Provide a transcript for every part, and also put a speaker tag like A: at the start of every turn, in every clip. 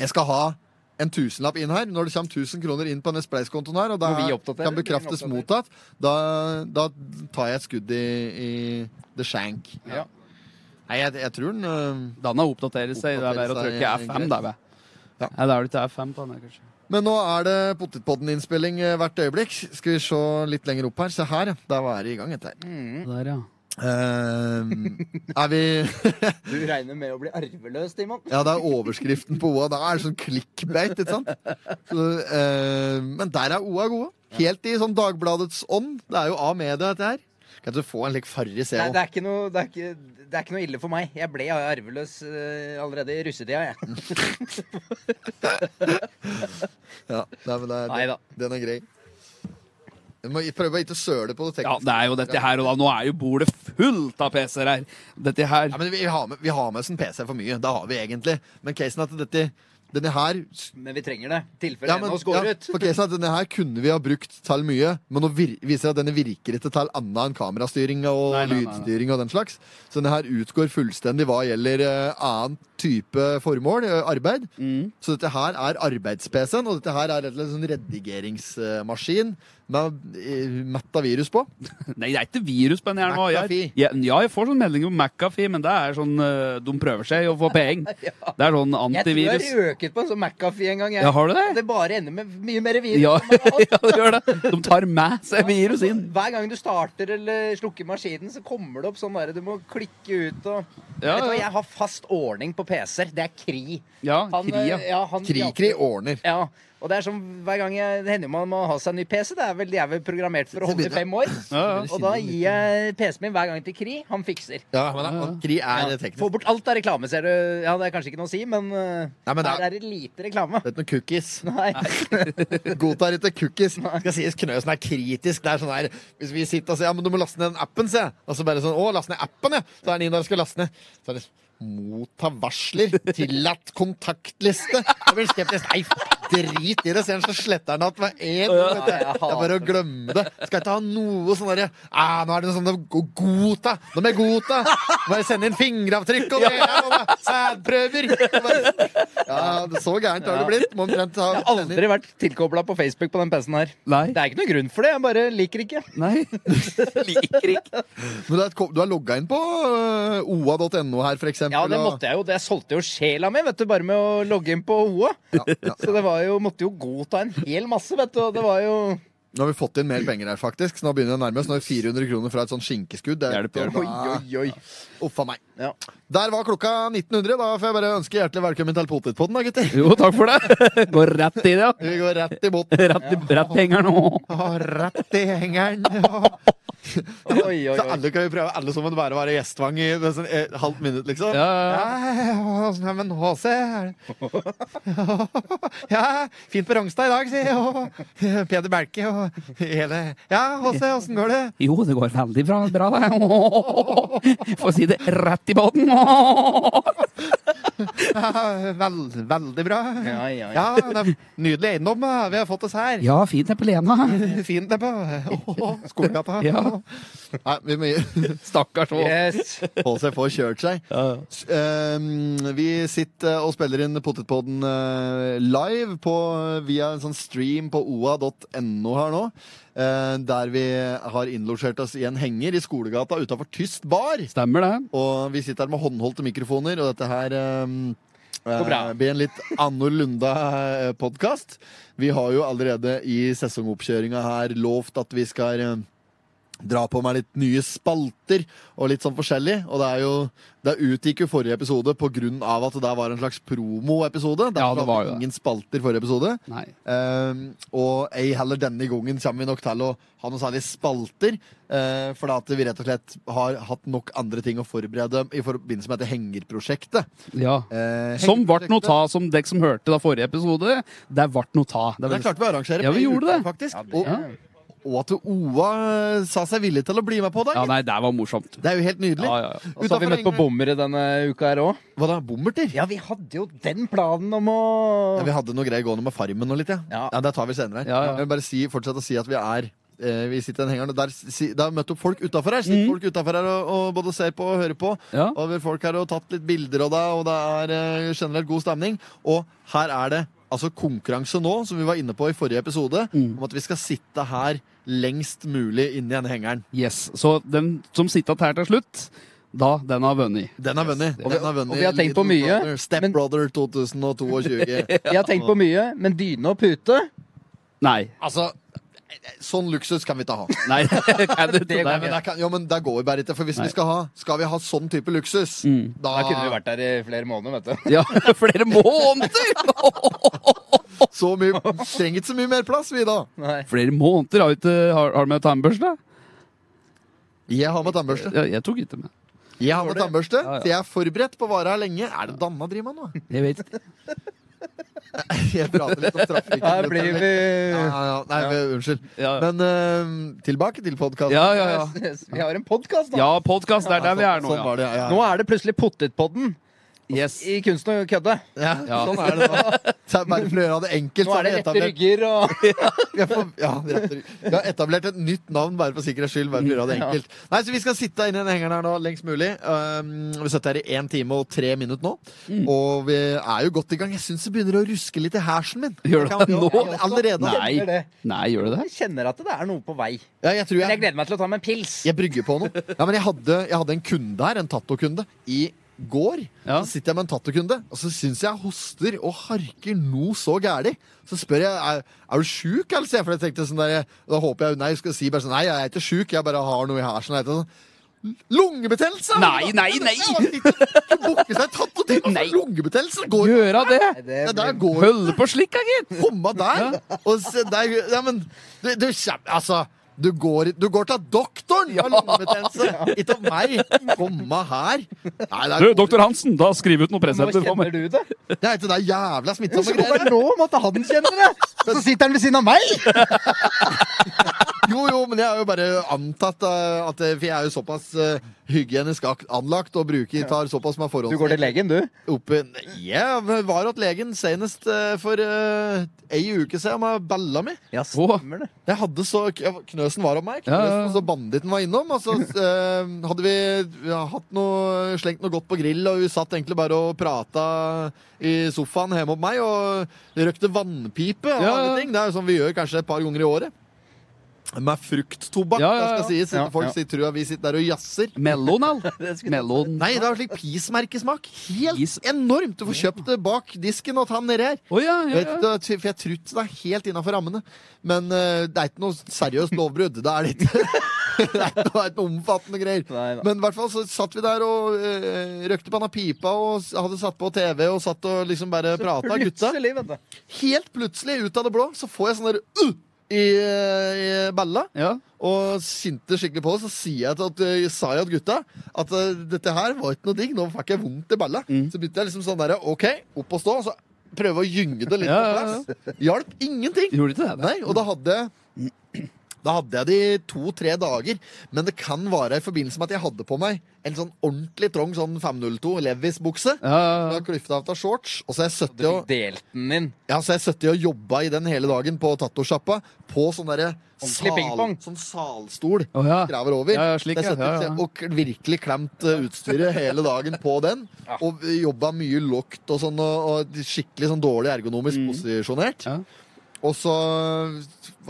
A: Jeg skal ha en tusenlapp inn her. Når det kommer 1000 kroner inn på denne spleiskontoen her, og da
B: Må vi oppdatere,
A: kan
B: eller?
A: bekraftes
B: Oppdatere.
A: mottatt, da, da tar jeg et skudd i, i the shank.
B: Ja.
A: Nei, jeg, jeg tror den øh,
C: Denne oppdaterer seg. Det er bare å
A: Oppdaterer seg,
C: trykke F5, da. vet jeg.
A: Ja.
C: Nei, det er vel ikke F5 på den, kanskje.
A: Men nå er det Potetpodden-innspilling eh, hvert øyeblikk. Skal vi se litt lenger opp her. Se her, ja. Da er det i gang, dette her.
C: Der, ja.
B: Mm.
A: Eh, er vi
B: Du regner med å bli arveløs, Timon?
A: Ja, det er overskriften på OA. Da er det sånn clickbait, ikke sant? Så, eh, men der er OA gode. Helt i sånn Dagbladets ånd. Det er jo av media, dette her. Kan ikke du få en lik farris, jeg
B: Nei,
A: òg?
B: det er, ikke noe, det, er ikke, det er ikke noe ille for meg. Jeg ble arveløs eh, allerede i russetida, jeg.
A: Ja, nei, men det er-
B: Neida.
A: Den er grei. Du må prøve å ikke søle på det
C: Ja,
A: tekniske.
C: det er jo dette her, og da, nå er jo bordet fullt av PC-er her. Dette her.
A: Ja, men vi har med, vi har med oss en PC for mye. Det har vi egentlig. Men casen er at dette, denne her
B: Men vi trenger det. Tilfelle
A: Ja,
B: en
A: men,
B: av oss går
A: ja,
B: ut.
A: for casen er at denne her kunne vi ha brukt til mye, men nå vir viser det at denne virker ikke til annet enn kamerastyring og
C: Nei, nei, nei, nei.
A: lydstyring og den slags. Så denne her utgår fullstendig hva gjelder eh, annen type formål, eh, arbeid. Så dette her er arbeids-PC-en, og dette her er rett og slett en sånn redigeringsmaskin med eh, mett av virus på.
C: Nei, det er ikke virus på den her nå. Jeg,
A: McAfee.
C: ja, ja, jeg får sånn meldinger om McAfee, men det er sånn eh, De prøver seg å få penger. Det er sånn
B: Jeg tror
C: antivirus.
B: jeg røket på en sånn McAfee en gang. Jeg.
C: Ja, har du det?
B: Det bare ender med mye mer virus.
C: Ja,
B: enn man har hatt.
C: ja, det gjør det. De tar med seg virus inn.
B: Hver gang du starter eller slukker maskinen, så kommer det opp sånn der du må klikke ut og
C: Ja,
B: Vet du hva,
C: ja.
B: Jeg har fast ordning på PC-er. Det er Kri.
C: Ja,
B: Han,
C: kria.
B: eh, ja, han-
A: Kri-kri ordner.
B: Ja, og det er som hver gang jeg, det hender jo man må ha seg en ny PC. Det er vel, de er vel programmert for å holde i fem år.
C: Ja, ja.
B: Og da gir jeg PC-en min hver gang til Kri. Han fikser.
A: Ja, men da- og Kri er
B: Ja.
A: teknisk.
B: Få bort alt av reklame, ser du. Ja, det er kanskje ikke noe å si, men, eh,
A: Nei, men det er-
B: her er det lite reklame.
A: Det er ikke noe cookies.
B: Nei.
A: Godtar ikke cookies. Det Skal sies Knøsen er kritisk. Det er sånn der, Hvis vi sitter og sier ja, men du må laste ned den appen, se. Og så bare sånn Å, last ned appen, ja. Så er den inn og skal laste ned. Så er det Motta varsler. Tillatt kontaktliste. Jeg blir skeptisk. Nei, drit i det. Ser han så sletter han at med én. vet du.
B: Ja, jeg
A: Det er bare å glemme det. Skal ikke ha noe sånn derre «Ah, Nå er det noe sånn det- go- Godta! Nå må jeg godta! Nå må jeg sende inn fingeravtrykk og greier! Sædprøver! Og bare- Ja, det- så gærent har det blitt. Må omtrent ha
B: Jeg har aldri vært tilkobla på Facebook på den PC-en her.
C: Nei.
B: Det er ikke noen grunn for det. Jeg bare liker ikke.
C: Nei. Liker ikke.
A: Men du er, et ko- du er logga inn på øh, oa.no her, for eksempel.
B: Ja, det
A: og-
B: måtte jeg jo. Jeg solgte jo sjela mi, vet du, bare med å logge inn på OA. Så det var jo, måtte jo godta en hel masse, vet du. Og det var jo
A: Nå har vi fått inn mer penger her, faktisk. Så nå begynner det å nærme oss. Nå er det 400 kroner fra et sånt skinkeskudd. Det
C: Hjelp, hjelp.
B: Oi, oi, oi.
A: Uff a meg.
B: Ja.
A: Der var klokka 1900. Da får jeg bare ønske hjertelig velkommen til Potetpodden, da, gutter.
C: Jo, takk for det. Går rett i det, ja.
A: Vi går rett i båten.
C: Rett, i- rett penger nå.
A: Å, Rett i hengeren. Å.
B: Oi, oi,
A: Så
B: oi.
A: alle kan jo prøve, alle som må bare være gjestvang i det er sånn, et halvt minutt, liksom.
C: Ja, ja,
A: Ja, sånn, ja, men HC er det. Ja, fint på Rongstad i dag, sier jeg. Og Peder Berke og hele Ja, HC, åssen går det?
C: Jo, det går veldig bra, bra det. Få si det rett i båten. Åh.
A: Ja, vel, veldig bra.
B: Ja, ja, ja.
A: Ja, det er nydelig eiendom da. vi har fått oss her.
C: Ja, fint det på Lena.
A: Fint det på Åh, Skolegata.
C: Ja.
A: Nei, vi må
C: Stakkars Ås.
B: Yes.
A: HC får kjørt seg.
C: Ja.
A: S- ehm, vi sitter og spiller inn Potetpodden eh, live på, via en sånn stream på oa.no her nå. eh, der vi har innlosjert oss i en henger i skolegata utafor Tyst bar.
C: Stemmer det.
A: Og vi sitter her med håndholdte mikrofoner, og dette her ehm, eh,
B: bra.
A: blir en litt annorlunda podkast. Vi har jo allerede i sesongoppkjøringa her lovt at vi skal eh, dra på med litt nye spalter og litt sånn forskjellig. Og det er jo Det utgikk jo forrige episode på grunn av at det der var en slags promoepisode.
C: Ja,
A: Derfor
C: det var
A: hadde
C: jo det.
A: ingen spalter forrige episode.
C: Nei.
A: Ehm, og ei heller denne gangen kommer vi nok til å ha noen særlige spalter. eh, for at vi rett og slett har hatt nok andre ting å forberede i forbindelse med dette hengerprosjektet.
C: Ja.
A: Eh,
C: Som ble
A: hengerprosjektet-
C: noe ta, som dere som hørte da forrige episode. Det ble noe ta. Det
A: Det
C: var-
A: klarte vi å arrangere.
C: Ja, vi
A: på
C: gjorde det.
A: uka, Faktisk.
C: Ja.
A: og, og at OA eh, sa seg villig til å bli med på det.
C: ja, nei, det var morsomt.
A: Det er jo helt nydelig.
C: Ja, ja, ja.
B: Og så har vi møtt på bommere denne uka her òg.
A: Hva da? Bommerter?
B: Ja, vi hadde jo den planen om å
A: Ja, vi hadde noe greier gående med Farmen og litt, ja.
B: Ja.
A: ja det tar vi senere.
C: Ja, ja.
A: Jeg vil bare si, fortsette å si at vi er eh, vi sitter i den hengeren, og der, si- det har møtt opp folk utafor her. Sitter
C: Mm.
A: folk utenfor her og, og både ser på og hører på.
C: Ja.
A: Og vi har folk her og tatt litt bilder av deg, og det er eh, generelt god stemning. Og her er det altså konkurranse nå, som vi var inne på i forrige episode,
C: Mm.
A: om at vi skal sitte her lengst mulig inni denne hengeren.
C: Yes. Så den som sitter her til slutt, da den har vunnet.
A: Den har vunnet.
B: Og vi-
A: Den har vunnet
B: og vi har tenkt på
A: Little
B: mye,
A: Brother,
B: men-
A: Stepbrother 2022.
B: Jeg har tenkt på mye, men dyne og pute
C: Nei.
A: altså, sånn luksus kan vi ikke ha.
C: Nei. Kan du,
B: Det
A: Nei, men der kan, jo, men der går vi bare ikke. For hvis
C: Nei.
A: vi skal ha Skal vi ha sånn type luksus,
C: Mm.
A: da,
B: Da kunne vi vært der i flere måneder, vet du.
C: Ja, flere måneder!
A: så mye, trenger ikke så mye mer plass, vi da.
B: Nei.
C: Flere måneder har, vi ikke, har, har du med tannbørste?
A: Jeg har med tannbørste.
C: Ja, jeg tok ikke med.
A: Jeg har med tannbørste,
C: Ja, ja.
A: så jeg er forberedt på å være her lenge. Er det Danna driver med nå?
C: Jeg vet ikke.
A: Jeg prater litt om trafikken.
B: Her blir vi
A: ja, ja, ja. Nei, men, unnskyld.
C: Ja, ja,
A: Men eh, tilbake til podkasten.
C: ja. ja, ja.
B: Vi har en podkast, da.
C: ja podkast. Det er der vi er nå,
A: Sånn
C: ja.
A: var det, ja.
B: Nå er det plutselig Pottetpodden
C: Yes.
B: i Kunsten og kødde.
A: ja. ja.
C: Ja.
A: Sånn er det nå. Så er det Bare for å gjøre det enkelt,
B: Nå
A: så
B: er
A: har
B: det
A: vi
B: rette
A: etablert,
B: rygger og
A: vi har for- ja, rette rygg. Vi har etablert et nytt navn bare for sikkerhets skyld. Bare for å gjøre det
B: Ja.
A: enkelt Nei, Så vi skal sitte inne i den hengeren her nå lengst mulig. Um, vi sitter her i én time og tre minutter nå.
C: Mm.
A: Og vi er jo godt i gang. Jeg syns det begynner å ruske litt i hersen min.
C: Gjør det
A: Jeg kan-
C: nå?
A: Ja, Allerede.
C: Nei.
B: Kjenner det.
C: Nei, gjør det det?
B: Jeg kjenner at det er noe på vei.
A: Ja, jeg tror
B: Men jeg
A: jeg,
B: gleder meg til å ta meg en pils.
A: jeg brygger på noe. Ja, men jeg hadde, jeg hadde en kunde her, en tattokunde, i går.
C: Ja.
A: Så sitter jeg med en tattokunde, og så syns jeg hoster og harker noe så gæli. Så spør jeg er, er du sjuk, eller? sier jeg, For jeg tenkte sånn der, da håper jeg hun nei skal si bare sånn Nei, jeg er ikke sjuk, jeg bare har noe i hersen. Jeg heter sånn, Lungebetennelse!
C: Nei, nei, nei.
A: Du bukker seg tatt og tenker
C: Nei.
A: på lungebetennelse! Går,
C: Gjøre det?
B: Nei, det
A: ja,
B: blir-
A: der går
C: Holde på slikka, gitt!
A: Komme der! Og se der ja, men, du, du, kjem- altså, du, går, du går til doktoren med lungebetennelse! Ikke av meg! Komme her! Nei, det er,
C: Du, doktor Hansen, da skriv ut noen
B: Nå
C: presenter for
B: kjenner
C: meg.
B: du det.
A: det er ikke det jævla smittsomme
B: Så kommer
A: greiene.
B: det nå måtte han kjenne det. Så sitter han ved siden av meg.
A: Jo, jo, men jeg har jo bare antatt eh, at eh, For jeg er jo såpass eh, hygienisk ak- anlagt og bruker tar såpass med forhold
B: Du går til legen, du.
A: Oppe, jeg var hos legen senest eh, for eh, ei uke siden med balla mi.
B: Ja,
C: stemmer
B: det.
A: Jeg hadde så, ja, Knøsen var om meg,
C: Ja, ja, ja.
A: knøsen, så banditten var innom. Og så eh, hadde vi ja, hatt noe, slengt noe godt på grill, og vi satt egentlig bare og prata i sofaen hjemme hos meg. Og røkte vannpipe og
C: Ja, ja.
A: alle ting. Det er jo sånn vi gjør kanskje et par ganger i året. Med frukttobakk,
C: Ja, ja, ja.
A: det skal sies.
B: Ja,
A: Ikke folk
B: ja.
A: sier- tror at vi sitter der og jazzer.
C: Mellon, al. Mellon.
A: Nei, det har slik pismerkesmak. Helt
C: Pis-
A: enormt! Du får kjøpt det bak disken og ta den nedi her.
C: Å ja,
A: Jeg
C: ja,
A: Vet,
C: ja.
A: ikke, for jeg tror ikke det er helt innafor rammene. Men eh, det er ikke noe seriøst lovbrudd. Det er det ikke. det er ikke noe, det er ikke noe omfattende greier.
B: Nei, da.
A: Men i hvert fall så satt vi der og eh, røkte panna pipa og s- hadde satt på TV og satt og liksom bare prata, gutta.
B: Plutselig, vet du.
A: Helt plutselig, ut av det blå, så får jeg sånn der uh, i, eh, i balla.
C: ja.
A: Og sinte skikkelig på det, så sier jeg til at, eh, sa jeg til gutta at eh, dette her var ikke noe digg. Nå fikk jeg vondt i balla.
C: Mm.
A: Så begynte jeg liksom sånn der, OK, opp og stå. Og så prøve å gynge det litt
C: Ja,
A: på
C: ja, ja.
A: plass. Hjalp ingenting.
C: Gjorde ikke det?
A: Nei, og da hadde da hadde jeg det i to-tre dager, men det kan være i forbindelse med at jeg hadde på meg en sånn ordentlig trang sånn 502 Levis-bukse.
C: Ja, ja,
A: Ja.
C: ja.
A: Klyfta av shorts. Og så er jeg
B: Du
A: 70 og
B: fikk delt den inn.
A: ja, så jeg satt og jobba i den hele dagen på tattosjappa. På sånn derre
B: Ordentlig
A: sal,
B: pingpong.
A: sånn salstol.
C: Å ja.
A: Graver over. sånn
C: Ja, ja, slik,
A: Der
C: ja,
A: satt jeg
C: ja, ja.
A: Og k- virkelig klemt eh, utstyret hele dagen på den.
B: Ja.
A: Og vi jobba mye lågt og sånn, og, og skikkelig sånn dårlig ergonomisk posisjonert.
C: Mm. Ja.
A: Og så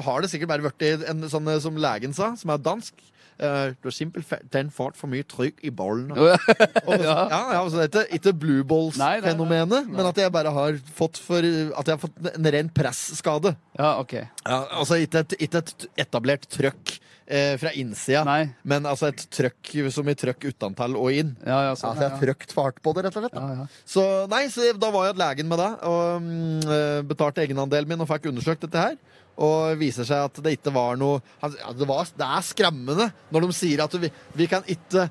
A: har det sikkert bare blitt en sånn eh, som legen sa, som er dansk. eh, du har simpelthen fått for mye trykk i bollen.
C: Å, ja.
A: Og-
C: Ja.
A: Ja, ja altså, dette, ikke blue
C: Nei, nei,
A: balls-fenomenet, men at jeg bare har fått, for, at jeg har fått en ren pressskade.
C: ja, ok.
A: Ja, altså ikke et, ikke et etablert trøkk eh, fra innsida,
C: Nei.
A: men altså et trøkk som i trøkk utantall og inn.
C: Ja, ja,
A: Ja,
C: sånn.
A: så jeg har trøkt fart på det, rett og slett. Da.
C: Ja, ja.
A: Så nei, så da var jeg hos legen med det, og mm, eh, betalte egenandelen min og fikk undersøkt dette her. Og det viser seg at det ikke var noe han- ja, det, var, det er skremmende når de sier at vi, vi kan ikke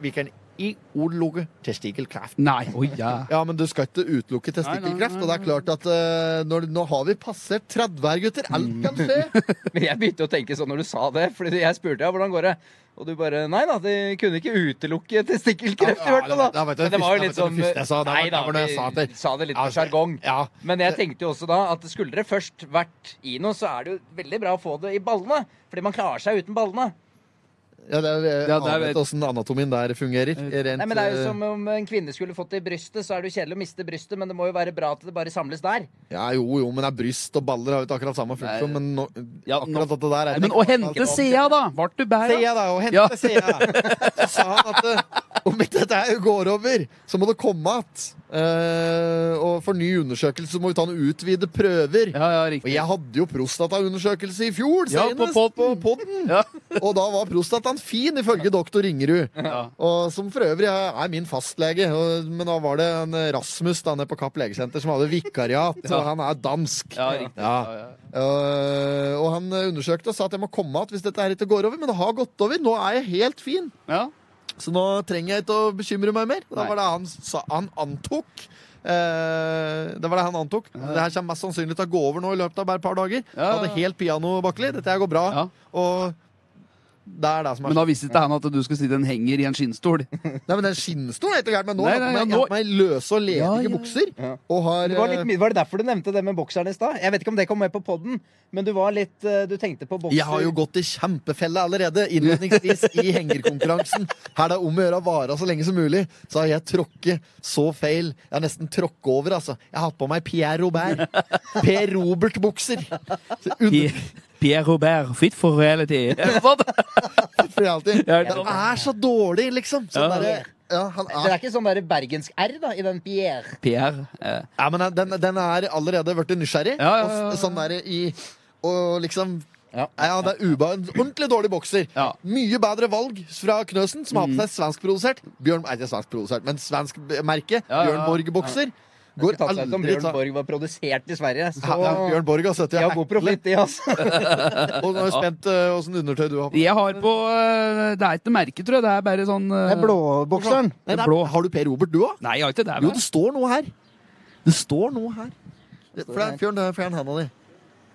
A: Vi kan i utelukke testikkelkreft.
C: Nei, oi ja.
A: Ja, men du skal ikke utelukke testikkelkreft. Og det er klart at eh, når, nå har vi passert 30 her, gutter. Alt kan skje.
B: Men jeg begynte å tenke sånn når du sa det, Fordi jeg spurte ja, hvordan går det? Og du bare Nei da, de kunne ikke utelukke testikkelkreft i
A: Ja,
B: hvert fall, da.
A: ja, det- det vet du,
B: Men det var jo
A: det
B: litt
A: første-
B: sånn
A: det første jeg sa, det var-
B: Nei da,
A: det var det jeg sa
B: vi
A: til- Altså,
B: sa det litt
A: Ja,
B: på sjargong.
A: Ja.
B: Men jeg tenkte jo også da at skulle dere først vært i noe, så er det jo veldig bra å få det i ballene. Fordi man klarer seg uten ballene.
A: Ja, det er,
C: Ja, det
A: jeg
C: er-
A: vet åssen anatomien der fungerer. Rent,
B: Nei, men Det er jo
A: eh,
B: som om en kvinne skulle fått det i brystet, så er det jo kjedelig å miste brystet, men det må jo være bra at det bare samles der.
A: ja, jo, jo, men det er bryst og baller har jo ikke akkurat samme funksjon, men nå,
C: Ja,
A: akkurat
C: nå-
A: dette der
C: Nei,
A: er
C: Men å hente Sea, da! Vart du bæra?
A: Sea, da, og hente
C: Ja.
A: Sea. Så sa han at eh, om ikke dette her går over, så må det komme att. Eh, og for ny undersøkelse så må vi ta noen utvide prøver.
C: Ja, ja,
A: Og
C: riktig.
A: jeg hadde jo prostataundersøkelse i fjor,
C: Ja, på
A: senest
C: podden.
A: podden.
C: Ja.
A: Og da var prostataen fin, ifølge doktor Ringerud.
C: Ja.
A: Og som for øvrig er er min fastlege. Og- Men da var det en Rasmus da nede på Kapp legesenter som hadde vikariat, og han er dansk.
C: Ja, riktig.
A: Ja.
C: Ja, ja.
A: Øh, og han undersøkte og sa at jeg må komme att hvis dette her ikke går over. Men det har gått over. Nå er jeg helt fin.
C: Ja.
A: Så nå trenger jeg ikke å bekymre meg mer. Da
C: Nei.
A: var det han, sa, han antok. Eh, det var det han antok. Det her kommer mest sannsynlig til å gå over nå i løpet av bare et par dager.
C: Ja, ja,
A: Jeg
C: ja.
A: hadde helt piano, Bakkeli. Dette her går bra.
C: Ja.
A: Og det er det som er
C: Men da visste ikke han at du skulle sitte en henger i en skinnstol.
A: Nei, men den skinnstolen er ikke gærent, men nå
C: Nei,
A: har
C: nei,
A: jeg
C: ja, nå-
A: hatt meg løse og ledige
C: Ja, ja, ja.
A: bukser.
B: Ja.
A: Og har
B: Det var, litt,
A: eh,
B: mye- var det derfor du nevnte det med bokseren i stad? Jeg vet ikke om det kom med på poden, men du var litt eh, Du tenkte på bokser.
A: Jeg har jo gått i kjempefelle allerede, innledningsvis i hengerkonkurransen. Her det er om å gjøre å vare så lenge som mulig, så har jeg tråkket så feil. Jeg har nesten tråkket over, altså. Jeg har hatt på meg Pierre Robert. Per Robert-bukser. Så under-
C: Pierre Robert, fit for reality.
A: for jeg alltid.
C: Ja,
A: Den er så dårlig, liksom. Sånn
C: Ja.
A: derre- ja, han
B: Det
A: er
B: er ikke sånn der bergensk R da, i den Pierre.
C: Pierre. Eh,
A: Ja, men den, den er allerede blitt nysgjerrig.
C: Ja, ja, ja, ja.
A: Og s- sånn der i Og liksom
B: Ja.
A: ja, det er uba, en ordentlig dårlig bokser.
C: Ja.
A: Mye bedre valg fra Knøsen, som har på seg svenskprodusert Bjørn, nei, ikke svenskprodusert, men svensk b- merke.
C: Ja, ja,
A: Bjørn Borg-bokser. Går
B: Tatt seg ut om
A: aldri
B: Bjørn
A: ta-
B: Borg var produsert i Sverige, så
A: Ja, Bjørn Borg har sittet
B: de
A: og
B: har god
A: heklet.
B: profitt, de, altså.
A: Og nå er jeg spent uh, åssen undertøy du har på.
C: Jeg har på eh, Det er ikke merke, tror jeg. Det er bare sånn eh,
B: blåbokseren.
A: Nei, det er-
C: blå.
A: Har du Per Robert, du òg?
C: Nei, jeg har ikke det.
A: Jo,
C: vel?
A: det står noe her. Det står noe her. For det er- Fjern eh, fjern handa di.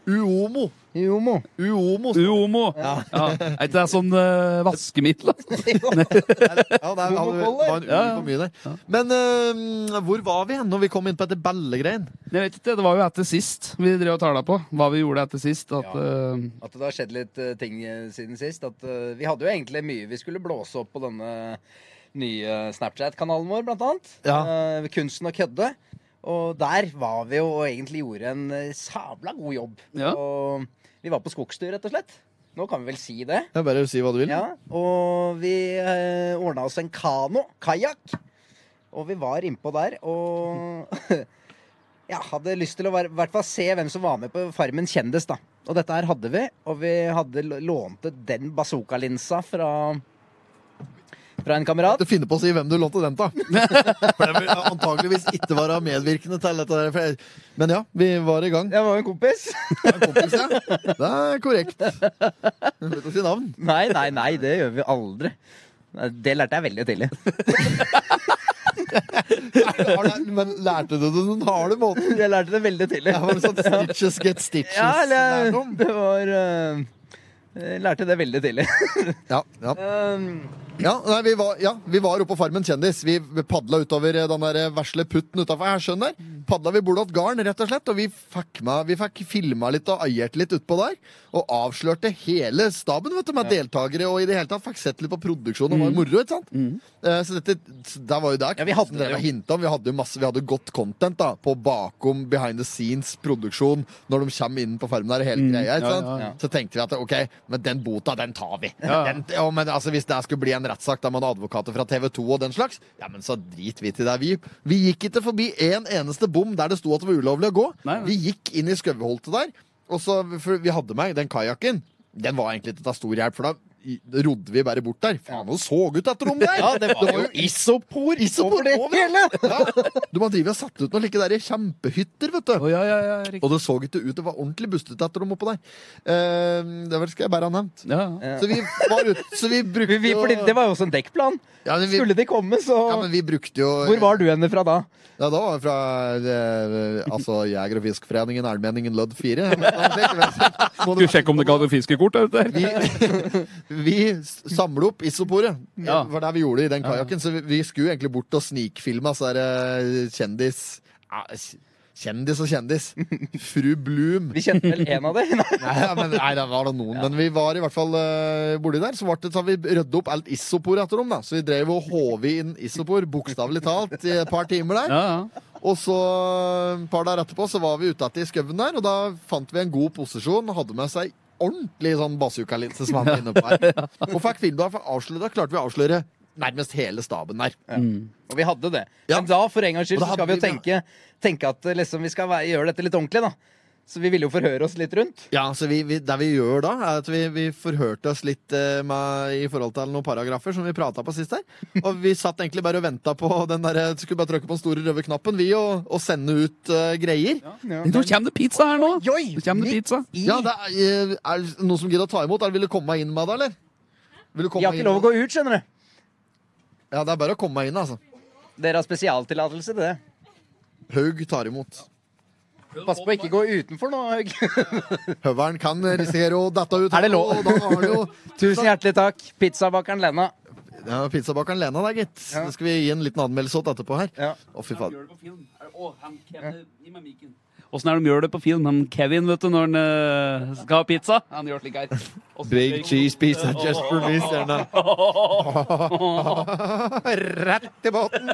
A: Uomo.
B: Jomo.
A: Uomo.
C: Uomo. Ja. Er ikke det sånn eh, vaskemiddel? altså?
A: Ja, det er,
B: Homo
A: det
B: Collar.
A: var en uke
C: Ja, ja.
A: for mye der. Men øhm, hvor var vi hen når vi kom inn på dette ballegreien?
C: Jeg vet ikke, Det var jo etter sist vi drev og tala på. Hva vi gjorde etter sist. At,
B: Ja.
C: eh,
B: At det har skjedd litt eh, ting eh, siden sist. At eh, vi hadde jo egentlig mye vi skulle blåse opp på denne nye Snapchat-kanalen vår, blant annet.
A: Ja.
B: Eh, kunsten å kødde. Og der var vi jo og egentlig gjorde en eh, sabla god jobb.
C: Ja.
B: Og vi var på skogstur, rett og slett. Nå kan vi vel si det.
A: Jeg bare si hva du vil.
B: Ja, og vi eh, ordna oss en kano, kajakk. Og vi var innpå der, og Jeg hadde lyst til å være, i hvert fall se hvem som var med på Farmen kjendis, da. Og dette her hadde vi, og vi hadde l- lånte den bazookalinsa fra fra en kamerat.
A: Du finner på å si hvem du lånte den til. For det vil antageligvis ikke være medvirkende til dette. Der. for jeg- Men ja, vi var i gang.
B: Jeg var jo en kompis.
A: Det er en kompis, ja. Det er korrekt. Du vet å si navn.
B: Nei, nei, nei, det gjør vi aldri. Nei, Det lærte jeg veldig tidlig.
A: Har du- Men lærte du det den harde måten?
B: Jeg lærte det veldig tidlig.
A: Det var sånn stitches get stitches.
B: Ja, eller
A: lærdom.
B: Det var eh, Jeg lærte det veldig tidlig.
A: ja, ja.
B: Um,
A: Ja, nei, vi, var, ja, vi var oppe på Farmen kjendis. Vi padla utover eh, den der vesle putten utafor Hersjøen der.
B: Mm.
A: Padla vi bordet åt garn, rett og slett, og vi fikk, med, vi fikk filma litt og aiert litt utpå der. Og avslørte hele staben vet du, med deltakere, og i det hele tatt fikk sett litt på produksjonen. Det var jo moro, ikke sant? Eh, Så dette, så der var jo der.
B: Mm. Ja, vi hadde
A: Knutsen
B: det
A: drev
B: jo.
A: og hintet om. Vi hadde jo masse, vi hadde godt content da, på bakom behind the scenes produksjon når de kommer inn på farmen der og hele greia.
C: Mm. Ja,
A: Ikke sant?
C: ja, ja.
A: Så tenkte vi at ok, men den bota, den tar vi.
C: Ja.
A: Den, ja, men altså, hvis det skulle bli en rettssak da med advokater fra TV 2 og den slags, ja, men så driter vi til det. Vi, vi gikk ikke forbi en eneste bom der det sto at det var ulovlig å gå.
C: Nei, nei.
A: Vi gikk inn i skaueholtet der, og så, for vi hadde meg den kajakken. Den var egentlig ikke til stor hjelp, for da i- rodde vi bare bort der. Faen, det så ut et rom der!
B: Ja, det var jo
A: isopor!
B: over det hele!
A: Ja. Du må drive og sette ut noen like der kjempehytter, vet du.
C: Å, ja, ja, ja, riktig.
A: Og det så ikke ut, det var ordentlig bustete etter dem oppå der. Eh, det var- skal jeg bare ha nevnt.
C: Ja, ja.
A: Så vi var ute, så vi brukte
B: Vi, vi, fordi
A: jo
B: det var jo også en dekkplan.
A: ja, men vi,
B: Skulle de komme, så
A: ja, men vi brukte jo
B: Hvor var du henne fra da?
A: Ja, da var jeg fra eh, altså, Jeger- og Fiskforeningen, Elmenningen, Lødd 4. Må
C: Skal vi sjekke om det ga det fiskekort der ute?
A: vi, vi samlet opp isoporet.
C: Ja.
A: Det var det vi gjorde i den
C: Ja, ja.
A: kajakken. Så vi, vi skulle egentlig bort og snikfilme så er det kjendis ja, Kjendis og kjendis. Fru Bloom.
B: Vi kjente vel en av dem?
A: Nei, ja, men, nei, det var da noen. Men vi var i hvert fall uh, borti der. Så, ble det, så har vi rydda opp alt isopor etter dem. Da. Så vi drev og håv inn isopor, bokstavelig talt, i et par timer der.
C: Ja, ja.
A: Og så et par dager etterpå så var vi ute etter i skauen der, og da fant vi en god posisjon. Hadde med seg ordentlig sånn bazookalinse som han var inne på her. Og fikk filma, for avslø- da klarte vi å avsløre nærmest hele staben der.
C: Mm.
B: Og vi hadde det.
A: Ja.
B: Men da, for en gangs skyld,
A: Og da
B: så skal vi jo
A: hadde vi
B: tenke, tenke at eh, liksom, vi skal være, gjøre dette litt ordentlig, da. Så vi ville jo forhøre oss litt rundt.
A: Ja, så vi, vi, Det vi gjør da, er at vi, vi forhørte oss litt eh, med, i forhold til noen paragrafer som vi prata på sist her. Og vi satt egentlig bare og venta på den derre Skulle bare trykke på den store røde knappen, vi, og, og sende ut eh, greier.
B: Ja.
C: Men nå kommer det pizza her nå!
B: Joi!
C: Nå kommer det
B: midt
C: pizza.
B: i-
A: Ja, det er, eh, er det noen som gidder å ta imot? Er det, vil du komme meg inn med det, eller? Vil du komme
B: Jeg har
A: meg
B: ikke
A: inn
B: lov å
A: med det?
B: gå ut, skjønner du.
A: Ja, det er bare å komme meg inn, altså.
B: Dere har spesialtillatelse til det.
A: Haug tar imot.
B: Pass på å ikke gå utenfor nå, Haug.
A: Høveren kan risikere å dette ut.
B: Er det lov?
A: Og da har det jo
B: Tusen hjertelig takk, pizzabakeren Lena.
A: ja, Pizzabakeren Lena der, gitt.
B: Ja.
A: Det skal vi gi en liten anmeldelse åt etterpå her.
B: Ja.
A: Å, fy faen.
C: Åssen er det de gjør det på film? Han Kevin, vet du, når han eh, skal ha pizza? Han gjør slik her. Og så-
A: cheese pizza just for me, Rett i båten!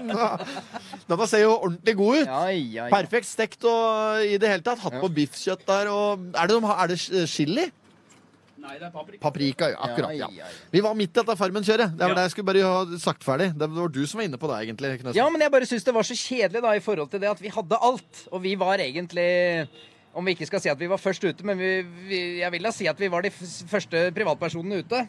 A: Denne ser jo ordentlig god ut.
B: Ja, ja, ja.
A: Perfekt stekt og i det hele tatt. Hatt på biffkjøtt der og Er det, de, har- er det chili?
C: Nei, det er paprika.
A: Paprika, ja, akkurat.
B: Ja,
A: Ja.
B: ja, ja.
A: Vi var midt i dette Farmen-kjøret. Det
C: Ja.
A: var det jeg skulle bare ha sagt ferdig. Det var du som var inne på det, egentlig. Knøsen.
B: Ja, men jeg bare syns det var så kjedelig da i forhold til det at vi hadde alt. Og vi var egentlig Om vi ikke skal si at vi var først ute, men vi, vi, jeg vil da si at vi var de f første privatpersonene ute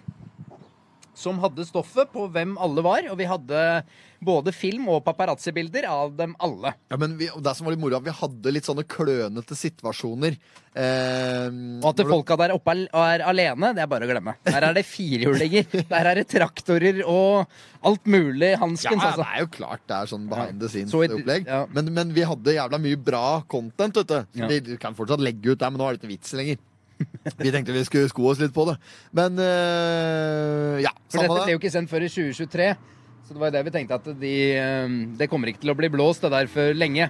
B: som hadde stoffet på hvem alle var. Og vi hadde både film- og paparazzi-bilder av dem alle.
A: Ja, men vi, og det som var litt moro, at vi hadde litt sånne klønete situasjoner. Eh,
B: Og at folka der oppe er, er alene, det er bare å glemme. Der er det firehjulinger, der er det traktorer og alt mulig
A: ja,
B: hanskens,
A: det
B: altså.
A: er jo klart det er sånn behind the
B: Så i-
A: scenes-opplegg.
B: ja.
A: Men, men vi hadde jævla mye bra content, vet du. Så
B: Ja.
A: Vi kan fortsatt legge ut der, men nå er det ikke vits lenger. Vi tenkte vi skulle sko oss litt på det. Men eh, ja,
B: For dette
A: samme
B: ble
A: det.
B: jo ikke sendt før i 2023. Så det var jo det vi tenkte at de, eh, det kommer ikke til å bli blåst det der for lenge.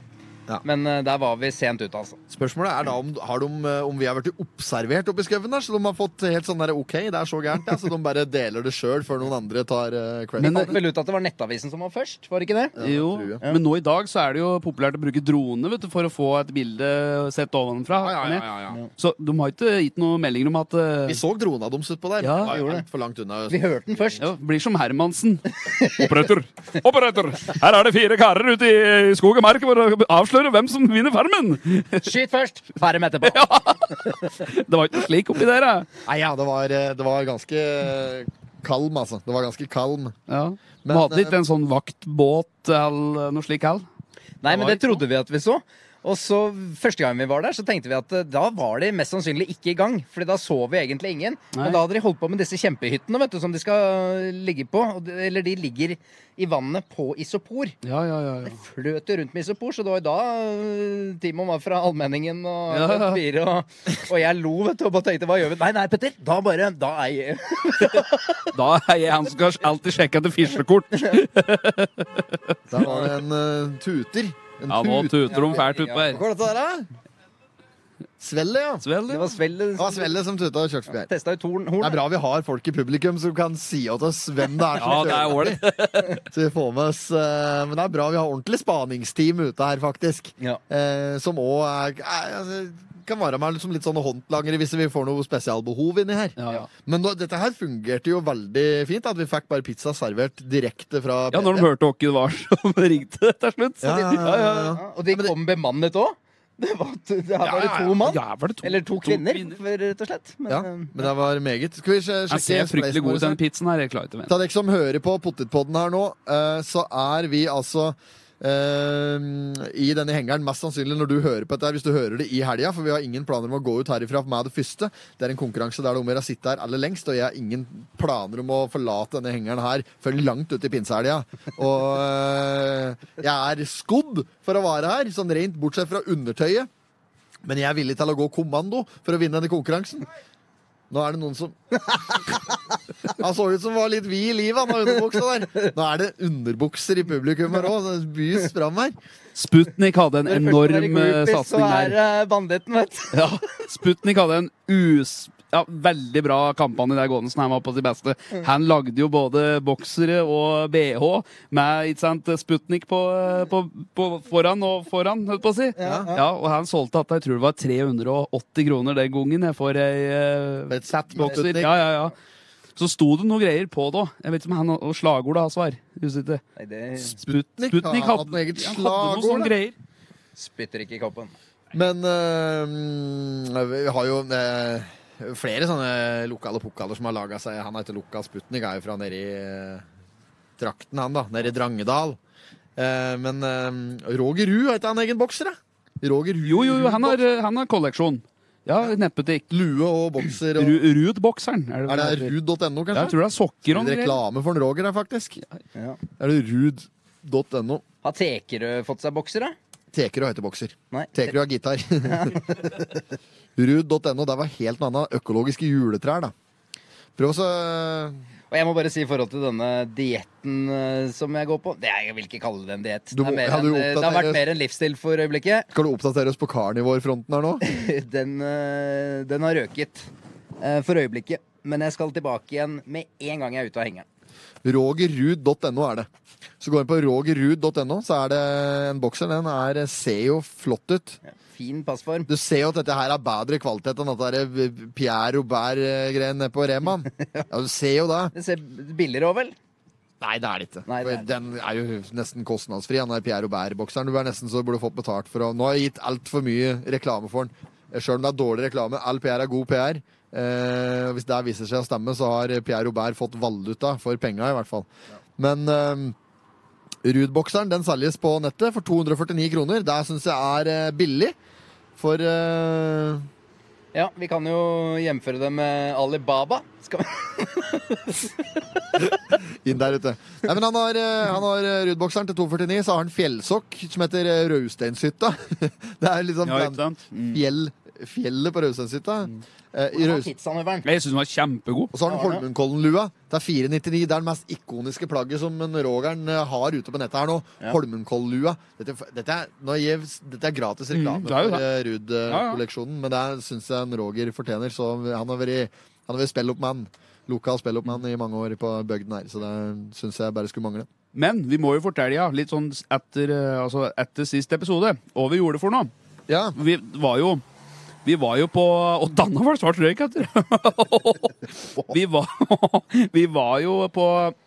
A: Ja.
B: Men eh, der var vi sent ute, altså.
A: Spørsmålet er da om, har de, eh, om vi har vært observert oppi skauen der, så de har fått helt sånn der OK, det er så gærent, ja. Så de bare deler det sjøl før noen andre tar uh, credit.
B: Vi fant vel ut at det var Nettavisen som var først, var det ikke det?
C: Jo,
A: tror jeg.
C: men nå i dag så er det jo populært å bruke drone vet du, for å få et bilde sett ovenfra.
A: Ja, ja, ja, ja, ja.
C: Så de har ikke gitt noen meldinger om at eh,
A: Vi så drona deres utpå der.
C: Ja,
A: Det var
B: vi gjorde det.
A: alt for langt unna.
B: Vi hørte den først.
C: ja, Blir som Hermansen. Operator! Operator! Her er det fire karer ute i skog og mark for å avsløre hvem som vinner Farmen!
B: Skyt først, ferm etterpå.
C: Det var ikke slik oppi der, da.
A: Nei, ja, det var, eh, det var ganske kalm, altså. Det var ganske kalm.
C: Ja.
A: Men,
C: Men, hadde ikke en sånn vaktbåt eller noe slik heller?
B: Nei, men det trodde vi at vi så. Og så Første gang vi var der, så tenkte vi at eh, da var de mest sannsynlig ikke i gang. Fordi da så vi egentlig ingen.
C: Nei.
B: Men da hadde de holdt på med disse kjempehyttene vet du, som de skal eh, ligge på. Og de, eller de ligger i vannet på isopor.
C: Ja, ja, ja, ja.
B: fløt jo rundt med isopor, så det var jo da øh, Timon var fra Allmenningen og
C: Ja, ja.
B: fire, og, og jeg lo vet du, og bare tenkte hva gjør vi? Nei, nei, Petter, da bare Da er jeg
C: Da er jeg han som skal alltid sjekke etter fiskekort.
A: Der var det en eh, tuter. En
C: Ja, nå
A: tut-
C: tuter de fælt utpå her.
A: Hva er dette der, da? Svelle, ja. Det
C: Svel,
B: Det
C: ja.
B: var Svelle
A: var Svelle som tuta og kjørte forbi her.
B: testa ut horn.
A: Det
B: horn.
A: er bra vi har folk i publikum som kan si åt oss hvem det er som
C: Ja, det er
A: kjører.
C: ålreit.
A: Så vi får med oss, eh, men det er bra vi har ordentlig spaningsteam ute her, faktisk.
B: Ja.
A: Eh, som òg er er- altså, kan være med som litt sånne håndlangere hvis vi får noe spesialbehov inni her.
C: Ja, ja.
A: Men nå, dette her fungerte jo veldig fint, at vi fikk bare pizza servert direkte fra
C: Ja, når de hørte hvem det var som ringte til slutt.
A: Ja, ja, ja, ja, ja.
B: Ja, og de kom bemannet òg. Det var, det her var det
A: Ja, ja,
B: to mann.
C: Ja, var det to,
B: Eller to
C: to
B: kvinner, for, rett og slett. Men,
A: Ja,
B: eh,
A: men det var meget. Skal vi sj-
C: Jeg
A: sjekke
C: ser fryktelig god ut,
A: spleisen
C: den pizzen her. Jeg klarer ikke å vente.
A: Ta dere som hører på Potetpodden her nå, eh, så er vi altså eh, i denne hengeren, mest sannsynlig når du hører på dette, her, hvis du hører det i helga, for vi har ingen planer om å gå ut herifra med det første. Det er en konkurranse der det er om å gjøre å sitte her aller lengst, og jeg har ingen planer om å forlate denne hengeren her før langt ut i pinsehelga. Og eh, jeg er skodd for å være her, sånn rent bortsett fra undertøyet. Men jeg er villig til å gå kommando for å vinne denne konkurransen. Nå er det noen som Han så ut som var litt vid i livet, han har underbuksa der. Nå er det underbukser i publikum her òg. Det bys fram her.
C: Sputnik hadde en
B: når det først var
C: enorm eh,
B: groupies,
C: satsing
B: Så er
C: der.
B: det banditten, vet du.
C: Ja, Sputnik hadde en us... Ja, Veldig bra kampanje der gående som han var på sitt beste. Han lagde jo både boksere og bh med ikke sant, Sputnik på, eh, på, på foran og foran, holdt på å si. Ja, Og han solgte at jeg tror det var 380 kroner den gangen jeg får ei eh,
A: Et sett med
C: bokser.
A: Sputnik.
C: Ja, ja, ja. Så sto det noe greier på det òg. Jeg vet ikke om han og slagordet hans var. Husker ikke.
B: Nei, det
C: Sput,
A: Sputnik
C: Sputnik
A: har
C: hadde,
A: hatt noe eget
C: han hadde noe
A: slagord, da.
C: sånne greier.
B: spytter ikke i koppen.
A: Men eh, vi har jo eh, flere sånne lokale pokaler som har laga seg. Han heter Lukas Sputnik, er jo fra nede i eh, trakten, han da. Nede i Drangedal. Eh, men eh, Roger Ruud heter han egen bokser, da. Roger Ruud.
C: Jo, jo, jo, han har, han har kolleksjon. Ja, nettbutikk.
A: Lue og bokser. Og,
C: Ru- Rudbokseren.
A: er det
C: det?
A: ruud.no,
C: Ja,
A: kanskje?
C: jeg tror det er
A: Litt
C: sokker og noe greier.
A: reklame for en Roger her, faktisk.
B: Ja.
A: Er det ruud.no?
B: Har Tekerød fått seg bokser, da?
A: Tekerød heter bokser.
B: Nei.
A: Tekerød har gitar. ruud.no, der var helt noe annet. Økologiske juletrær, da. Prøv også eh,
B: Og jeg må bare si i forhold til denne dietten eh, som jeg går på det er, Jeg vil ikke kalle det en diett.
A: Du
B: Det, er
A: må-
B: mer
A: ja, du
B: enn, eh, det har
A: oppdaterer-
B: vært mer en livsstil for øyeblikket.
A: Skal du oppdatere oss på karnivårfronten her nå?
B: Den, eh, den har røket eh, for øyeblikket. Men jeg skal tilbake igjen med en gang jeg er ute av hengeren.
A: Rogerruud.no er det. Så gå inn på rogerruud.no, så er det en bokser. Den er, eh, ser jo flott ut.
B: Fin passform.
A: Du ser jo at dette her er bedre kvalitet enn dette der Pierre Robert-greien nede på Remaen. Ja, du ser jo det.
B: Det ser billigere òg, vel?
A: Nei, det er det ikke.
B: Nei, det er det.
A: Den er jo nesten kostnadsfri. Han er Pierre Aubert-bokseren. Du er nesten så du burde fått betalt for å Nå har jeg gitt altfor mye reklame for den. Sjøl om det er dårlig reklame. All PR er god PR. Eh, hvis det viser seg å stemme, så har Pierre Aubert fått valuta for penga, i hvert fall. Men eh, Ruud-bokseren den selges på nettet for 249 kroner. Det syns jeg er eh, billig. For eh,
B: Ja, vi kan jo hjemføre det med Alibaba. Skal vi?
A: inn der ute. Nei, men han har, eh, han har eh, Ruud-bokseren til 249, så har han fjellsokk som heter eh, Rausteinshytta. Det er liksom
C: Ja, ikke sant? Mm.
A: fjell, fjellet på Rausteinshytta. Eh, I Raust...
B: Pizzanøveren.
C: Jeg syns den var kjempegod.
A: Og så har han
B: Ja, det.
A: Holmenkollen-lua. Det er 499. Det er det mest ikoniske plagget som en Rogeren eh, har ute på nettet her nå.
B: Ja.
A: Holmenkollen-lua. Dette, dette, er- nå gir- dette er gratis reklame
C: Mm, det er jo
A: for
C: det.
A: eh, Ruud-kolleksjonen, men det syns jeg en Roger fortjener. Så han har vært, han har vært spelloppmann. Lokal spelloppmann i mange år på bygden her, så det syns jeg bare skulle mangle.
C: Men vi må jo fortelle, ja, litt sånn etter, eh, altså etter sist episode, hva vi gjorde for noe.
A: Ja,
C: Vi var jo vi var jo på Og Dannavall svart røyk etter! vi, var, vi var jo på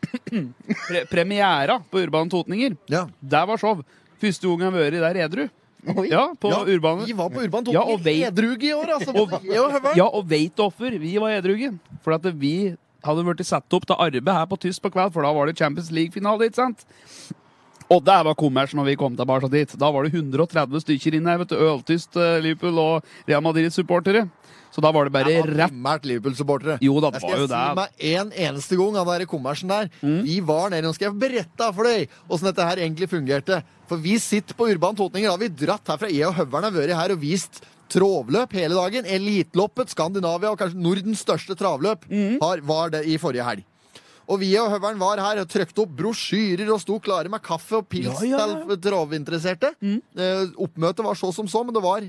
C: pre premiera på Urban Totninger.
A: ja.
C: Der var show. Første gang jeg har vært der edru.
B: Oi.
C: Ja, på
A: ja,
C: Urbane.
A: Vi var på Urban
C: Ja, og
A: Totning
C: vei-
A: edruge i år, altså.
C: Og-
A: Ja, høvel.
C: Ja, og veit offer, vi var edruge. For at vi hadde blitt satt opp til arbeid her på tysk på kveld, for da var det Champions League-finale, ikke sant? Og der var kommersen når vi kom tilbake dit. Da var det 130 stykker inne her, vet du. Øltyst eh, Liverpool og Real Madrid-supportere. Så da var det bare
A: Jeg var
C: rett
A: primært Liverpool-supportere.
C: Jo da, det
A: Jeg
C: var
A: skal
C: jo Mm.
A: si
C: det.
A: meg en eneste gang av den kommersen der. Vi var nede, nå skal jeg berette for deg åssen dette her egentlig fungerte. For vi sitter på Urban Totninger, da har vi dratt herfra. Jeg og Høveren har vært her og vist travløp hele dagen. Elitloppet, Skandinavia og kanskje Nordens største travløp
C: Mm.
A: har, var det i forrige helg. Og vi og Høveren var her og trykte opp brosjyrer og sto klare med kaffe og pils
C: Ja, ja, ja. Mm.
A: til travinteresserte. Eh, oppmøtet var så som så, men det, var,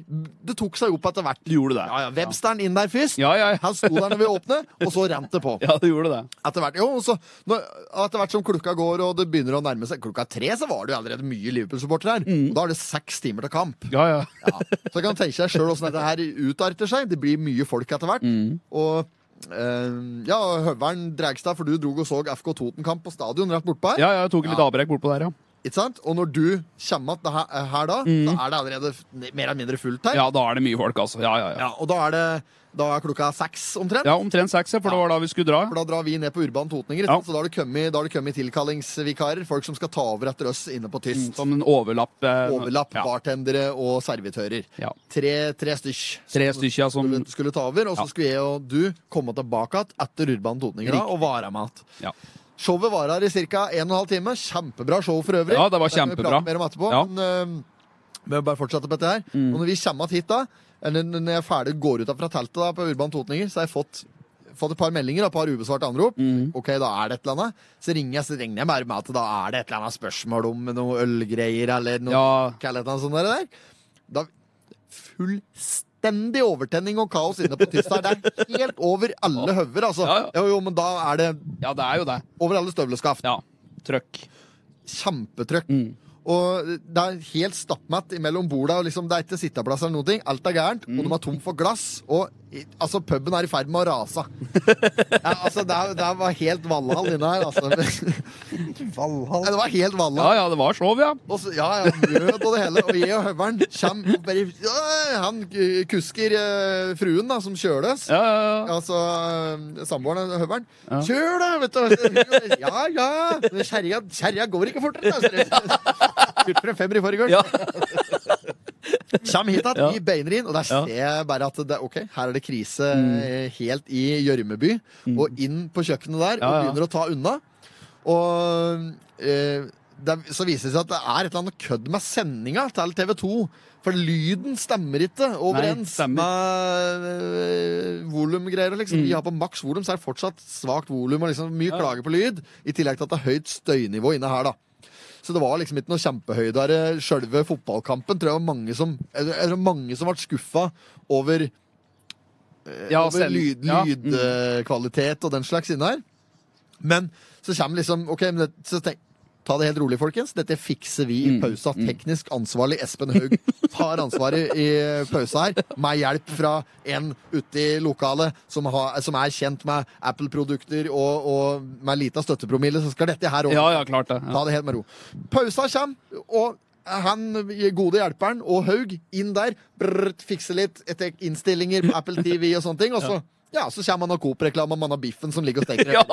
A: det tok seg opp etter hvert.
C: Du gjorde det.
A: Ja, ja, Websteren inn der først.
C: Ja, ja, ja.
A: Han sto der når vi åpnet, og så rant det på.
C: Ja, du gjorde det.
A: Etter hvert, jo, og så, når, etter hvert som klokka går og det begynner å nærme seg klokka tre, så var det jo allerede mye Liverpool-supportere her. Og da er det seks timer til kamp.
C: Ja, Mm. ja.
A: Ja. Så jeg kan tenke seg sjøl åssen dette her utarter seg. Det blir mye folk etter hvert.
C: Mm.
A: Og eh, ja, Høveren Dregstad, for du dro og så FK Toten-kamp på stadion rett bortpå her.
C: Ja, ja, jeg tok litt avbrekk bortpå der, ja.
A: Ikke sant? Og når du kommer att her, eh, her da, så er det allerede f- mer eller mindre fullt her.
C: Mm. Ja, da er det mye folk, altså. Ja, ja, ja.
A: Ja, og da er det da er klokka seks omtrent.
C: Ja, omtrent seks, ja, for det var da vi skulle
A: For
C: dra.
A: da drar vi ned på Urban Totninger.
C: Ja.
A: Så da har det kommet, da har det kommet tilkallingsvikarer. Folk som skal ta over etter oss inne på Tyst.
C: Som en overlapp. eh,
A: Overlapp,
C: Mm. ja.
A: bartendere og servitører.
C: Ja.
A: Tre, tre stykk.
C: Tre stykker som
A: Skulle, skulle ta over, og så
C: Mm. Ja.
A: skulle jeg og du komme tilbake igjen etter Urban Totninger da,
C: Riktig.
A: og være med igjen.
C: ja.
A: Showet varer i ca. 1 12 time. Kjempebra show for øvrig.
C: Ja, det var
A: kan vi
C: kjempebra.
A: prate Mer om etterpå,
C: Ja. Mm.
A: men, øhm, vi må bare fortsette på dette her. Og når vi kommer hit da, eller når jeg er ferdig går ut av fra teltet da, på Urban Totninger, så har jeg fått, fått et par meldinger og et par ubesvarte anrop.
C: Mm.
A: Ok, da er det et eller annet. Så ringer jeg, så ringer jeg bare med at da er det et eller annet spørsmål om noe ølgreier eller noe
C: Ja.
A: hva er det noe sånt sånn der. der. Da, fullstendig overtenning og kaos inne på Tysdal. Det er helt over alle høver, altså.
C: Ja,
A: Jo, jo, men da er det
C: ja, det er jo det.
A: over alle støvleskaft
C: Ja. Trøkk.
A: kjempetrøkk.
C: Mm.
A: Og det er helt stappmatt mellom borda, og liksom, det er ikke sitteplass eller noen ting. Alt er gærent, og
C: Mm.
A: de er tom for glass. Og i- altså, puben er i ferd med å rase. ja, altså, det, er- det var helt Valhall inne her, altså. Nei,
B: Valhall.
A: det var helt
C: Ja,
A: Valhall.
C: ja, det var show, ja.
A: Og så, ja, ja, mjød og det hele. Og jeg og høveren kommer og bare ja, Han eh, kusker eh, fruen, da, som kjøles.
C: Ja, ja, ja.
A: Altså eh, samboeren og høveren. Kjør, da! Vet du. Ja, ja! Men Kjerringa kjerringa går ikke fortere, da! ser du. Kjørte for en femmer i forgårs.
C: Ja.
A: Kjem hit at
C: Ja. Mm.
A: vi beiner inn, og der ser jeg bare at det, ok, her er det krise eh, helt i Gjørmeby. Og inn på kjøkkenet der,
C: Ja,
A: og
C: ja.
A: begynner å ta unna. Og eh, det, så viser det seg at det er et eller annet kødd med sendinga til TV 2. For lyden stemmer ikke overens
C: stemmer. Mm.
A: med eh, volumgreier. Liksom. Vi har på maks volum, så er det fortsatt svakt volum og liksom mye
C: Ja.
A: klager på lyd. I tillegg til at det er høyt støynivå inne her, da. Så det var liksom ikke noe kjempehøydere. Sjølve fotballkampen tror jeg var mange som, eller, eller mange som ble skuffa over,
C: ja
A: over
C: send-
A: lyd-
C: ja, mm.
A: lydkvalitet og den slags inne her. Men så kommer liksom OK, men det, så tenk, ta det helt rolig, folkens. Dette fikser vi
C: Mm.
A: i pausa. Teknisk ansvarlig Espen Haug tar ansvaret i pausa her, med hjelp fra en ute i lokalet som, har, som er kjent med Apple-produkter og, og med lita støttepromille, så skal dette her over.
C: Ja, ja, klart det. Ja.
A: Ta det helt med ro. Pausa kommer, og han gode hjelperen og Haug inn der, brrr, fikser litt etter innstillinger på Apple TV og sånne ting, og så ja, så kommer han og Coop-reklame, og man har biffen som ligger og steker.
C: Ja,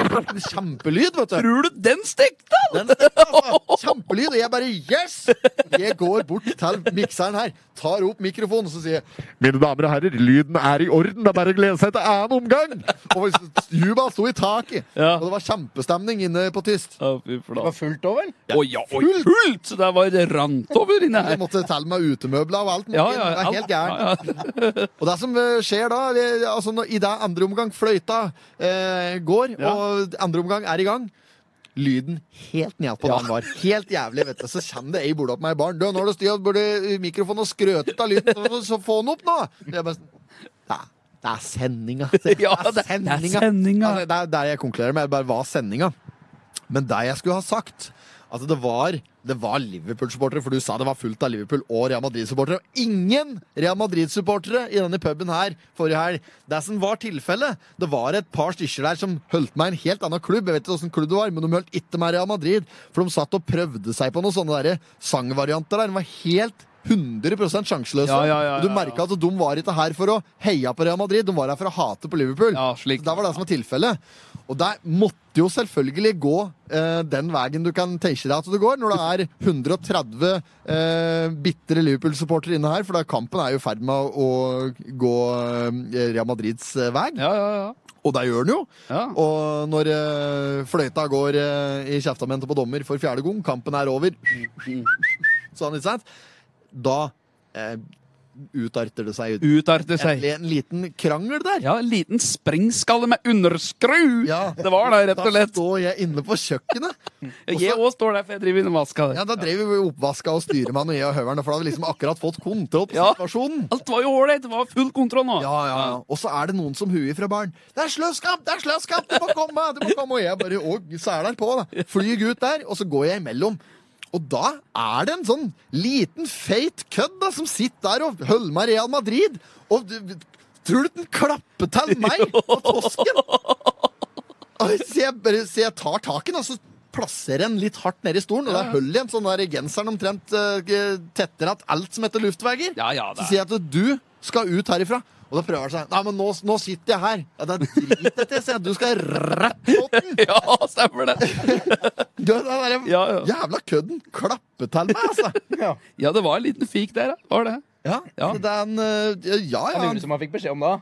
A: Kjempelyd, vet du!
C: tror du den stekte?!
A: Den stemmer, altså. Kjempelyd. Og jeg bare Yes! Jeg går bort til mikseren her, tar opp mikrofonen og så sier jeg, Mine damer og herrer, lyden er i orden. Det er bare å glede seg til annen omgang! Og Juba sto i taket.
C: Ja.
A: Og det var kjempestemning inne på Tyst.
C: Å, fy
B: Det var
C: flate.
B: fullt òg, vel?
C: Å ja, oi, fullt! Det var det rant over inne
A: Jeg
C: her.
A: måtte telle meg utemøbler og alt.
C: Ja,
A: Martin.
C: ja,
A: Det
C: ja.
A: er helt gærent.
C: Ja, ja.
A: Og det som eh, skjer da, eh, altså når, i det andre omgang fløyta eh, går,
C: Ja.
A: og andre omgang er i gang, lyden helt ned på den var. Helt jævlig, vet du. Så kommer det ei borda på meg barn. Du, nå har du styrt burde mikrofonen og skrøtet av lyden, så, så få den opp nå! Det er bare sånn, "Nei, det er sendinga. Det
C: Ja, det- det er sendinga.
A: Ja, det- det er der jeg konkluderer med, bare hva er sendinga? Men det jeg skulle ha sagt Altså det var, det var Liverpool-supportere, for du sa det var fullt av Liverpool og Real Madrid-supportere. Og ingen Real Madrid-supportere i denne puben her forrige helg. Det som var tilfellet, det var et par stykker der som holdt meg i en helt annen klubb. Jeg vet ikke åssen klubb det var, men de holdt ikke med Real Madrid. For de satt og prøvde seg på noen sånne der sangvarianter der. De var helt 100 sjanseløse.
C: Ja, ja, ja,
A: Og du
C: ja, ja.
A: merka at de var ikke her for å heie på Real Madrid, de var her for å hate på Liverpool.
C: Ja, slik.
A: Så det var det som var tilfellet. Og der måtte jo selvfølgelig gå eh, den veien du kan tenke deg at du går, når det er 130 eh, bitre Liverpool-supportere inne her, for da kampen er jo i ferd med å, å gå eh, Real Madrids eh, vei.
C: Ja, ja, ja.
A: Og det gjør den jo.
C: Ja.
A: Og når eh, fløyta går eh, i kjeftamentet på dommer for fjerde gang, kampen er over Sånn, ikke sant? Da eh, utarter det seg ut.
C: Utarte seg.
A: En, en liten krangel der.
C: Ja, en liten sprengskalle med underskru!
A: Ja.
C: Det var det, rett og
A: Da
C: slett.
A: står jeg inne på kjøkkenet.
C: Jeg òg står der, for jeg driver inn og vasker.
A: Ja, Da drev vi oppvaska og styremann og jeg og høveren, for da hadde vi liksom akkurat fått kontroll på
C: Ja.
A: situasjonen.
C: Alt var jo ålreit. Det var full kontroll nå.
A: Ja, ja, ja. Og så er det noen som huer fra baren. 'Det er sløskamp! Det er sløskamp! Du må komme!' du må komme Og jeg bare og sæler på. da. Flyr ut der, og så går jeg imellom. Og da er det en sånn liten, feit kødd da, som sitter der og holder med Real Madrid. Og du- tror du den klapper til meg og tosken? Og så jeg, bare, så jeg tar taken, og så plasser en litt hardt nede i stolen, og det er hull i en sånn der genseren omtrent eh, tetter at alt som heter luftveier.
C: Ja, ja, det
A: Så
C: er-
A: sier jeg at du skal ut herifra. Og da prøver han seg. Nei, men nå, nå sitter jeg her. Ja, det er drit etter, sier jeg. Du skal rett på den!
C: Ja, stemmer det!
A: Du, den der,
C: Ja, ja.
A: Jævla kødden klappe til meg, altså!
B: Ja.
C: ja, det var en liten fik der, ja. Var det.
A: Ja,
C: Ja.
A: så det er en, eh, ja, ja,
B: Han
C: liksom-
B: gjorde som han fikk beskjed om da.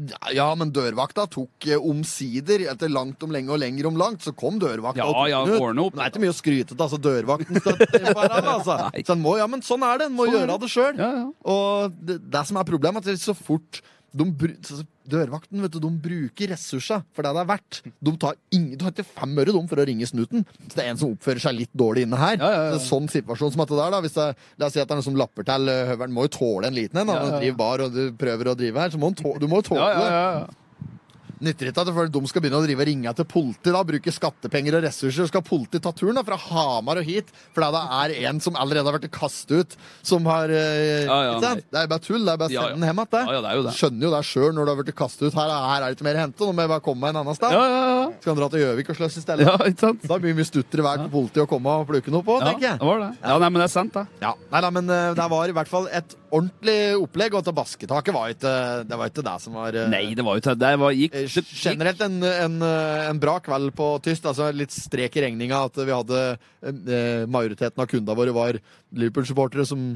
A: Ja, Ja, men dørvakta tok eh, omsider, etter langt om lenge og lenger om langt, så kom dørvakta.
C: Ja,
A: og tok
C: ja,
A: den ut.
C: ordne opp.
A: Men Det er ikke mye å skryte av, altså, dørvakten støtter hverandre, altså.
C: Nei.
A: Så en må, ja, men sånn er det, en må
C: Sånn er
A: gjøre det sjøl.
C: Ja, ja.
A: Og det, det som er problemet, er at så fort de, bru- så- så- Dørvakten vet du, de bruker ressurser for det det er verdt. De tar, ingen, de tar ikke fem øre de, for å ringe snuten. Så det er en som oppfører seg litt dårlig inne her.
C: Ja, ja, ja.
A: Så det er sånn situasjon som at det der, da, hvis det, La oss si at det er noen som lapper til eh, høvelen. Må jo tåle en liten en. da. Når
C: Ja, ja,
A: du
C: ja.
A: driver bar og du prøver å drive her, så må du, tå, du må jo tåle
C: Ja,
A: det.
C: ja, ja, ja.
A: Nytter ikke at for de skal begynne å drive og ringe til politi, da, bruke skattepenger og ressurser, så skal politi ta turen da, fra Hamar og hit, for da det er en som allerede har vært kastet ut, som har eh,
C: Ja, ja,
A: ikke sant? Det er bare tull, det er bare å
C: Ja,
A: sende den
C: ja.
A: hjem igjen. det.
C: Ja, ja, det er jo det.
A: Skjønner jo det sjøl når du har vært kastet ut. Her, er- her er det ikke mer å hente, nå må jeg bare komme meg en annen sted.
C: Ja, ja, ja.
A: Skal han dra til Gjøvik og sløss i stedet?
C: ja, ikke sant?
A: Da blir det mye stuttere vær for politiet å komme og plukke noe på,
C: Ja,
A: tenker
C: det
A: jeg.
C: var det. Ja, nei, men det er sant, det.
A: Ja, nei, nei, men eh, det var i hvert fall et ordentlig opplegg, og at basketaket var ikke det, var ikke det som var eh,
C: Nei, det var jo til det. Var, gikk,
A: Eh,
C: det gikk.
A: Generelt en, en, eh, en bra kveld på tyst. Altså litt strek i regninga at vi hadde eh, Majoriteten av kundene våre var Liverpool-supportere som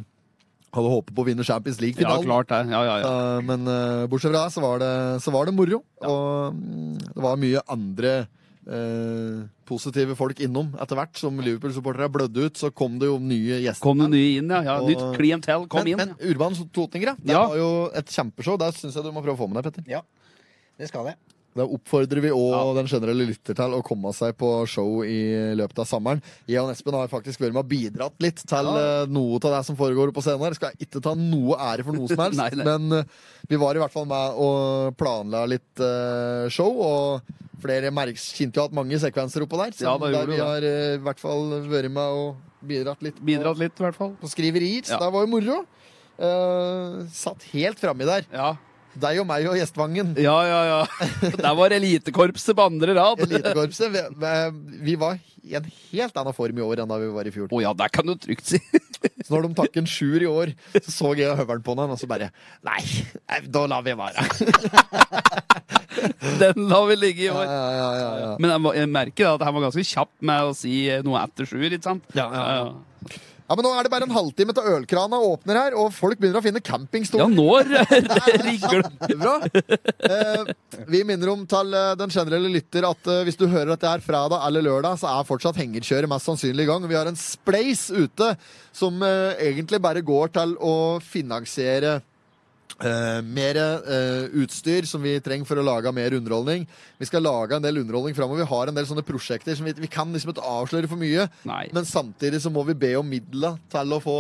A: hadde håpet på å vinne Champions
C: Ja,
A: League-finalen.
C: klart det. Ja, ja, ja.
A: Eh, men eh, bortsett fra det, så var det, så var det moro. Og mm, det var mye andre eh, positive folk innom etter hvert. Som Liverpool-supportere blødde ut, så kom det jo nye gjester.
C: Kom det nye inn, ja. ja. Nytt
A: Og-
C: klientell kom
A: men,
C: inn.
A: men Urban Totninger, ja. det
C: Ja.
A: var jo et kjempeshow. Der syns jeg du må prøve å få med deg, Petter.
B: Ja, det skal jeg.
A: Da oppfordrer vi òg
C: Ja.
A: den generelle lytter til å komme seg på show i løpet av sommeren. Jeg og Espen har faktisk vært med og bidratt litt til eh, noe av det som foregår på scenen. her. Skal jeg ikke ta noe ære for noe som helst,
C: Nei, nei.
A: men eh, vi var i hvert fall med og planla litt eh, show. Og flere merks kjente jo at mange sekvenser oppå der, så
C: Ja, da gjorde
A: der
C: du
A: vi
C: det.
A: har eh, i hvert fall vært med og bidratt litt. på-
C: Bidratt litt, i hvert fall.
A: På skriverier, så
C: Ja.
A: det var jo moro. Eh, satt helt framme der.
C: Ja,
A: Deg og meg og gjestvangen.
C: ja, ja. ja. Der var elitekorpset på andre rad. Å
A: Elitekorpset vi, vi- vi var i en helt annen form i år enn da vi var i fjor.
C: ja, der kan du trygt si.
A: Så når de takk en sjuer i år, så så jeg høvelen på den, og så bare Nei, nei, da lar vi være.
C: Den la vi ligge i
A: Ja,
C: år.
A: ja, ja, ja, ja.
C: Men jeg, må- jeg merker da at han var ganske kjapp med å si noe etter sjuer, ikke sant?
A: Ja, ja, ja. ja, Men nå er det bare en halvtime til ølkrana åpner her, og folk begynner å finne
C: Ja,
A: campingstoler.
C: nå rigger det.
A: Kjempebra. Eh, vi minner om til eh, den generelle lytter at eh, hvis du hører dette her fredag eller lørdag, så er fortsatt hengerkjøret mest sannsynlig i gang. Vi har en spleis ute som eh, egentlig bare går til å finansiere Eh, mer eh, utstyr som vi trenger for å lage mer underholdning. Vi skal lage en del underholdning framover. Vi har en del sånne prosjekter som vi, vi kan liksom ikke avsløre for mye.
C: Nei.
A: Men samtidig så må vi be om midler til å få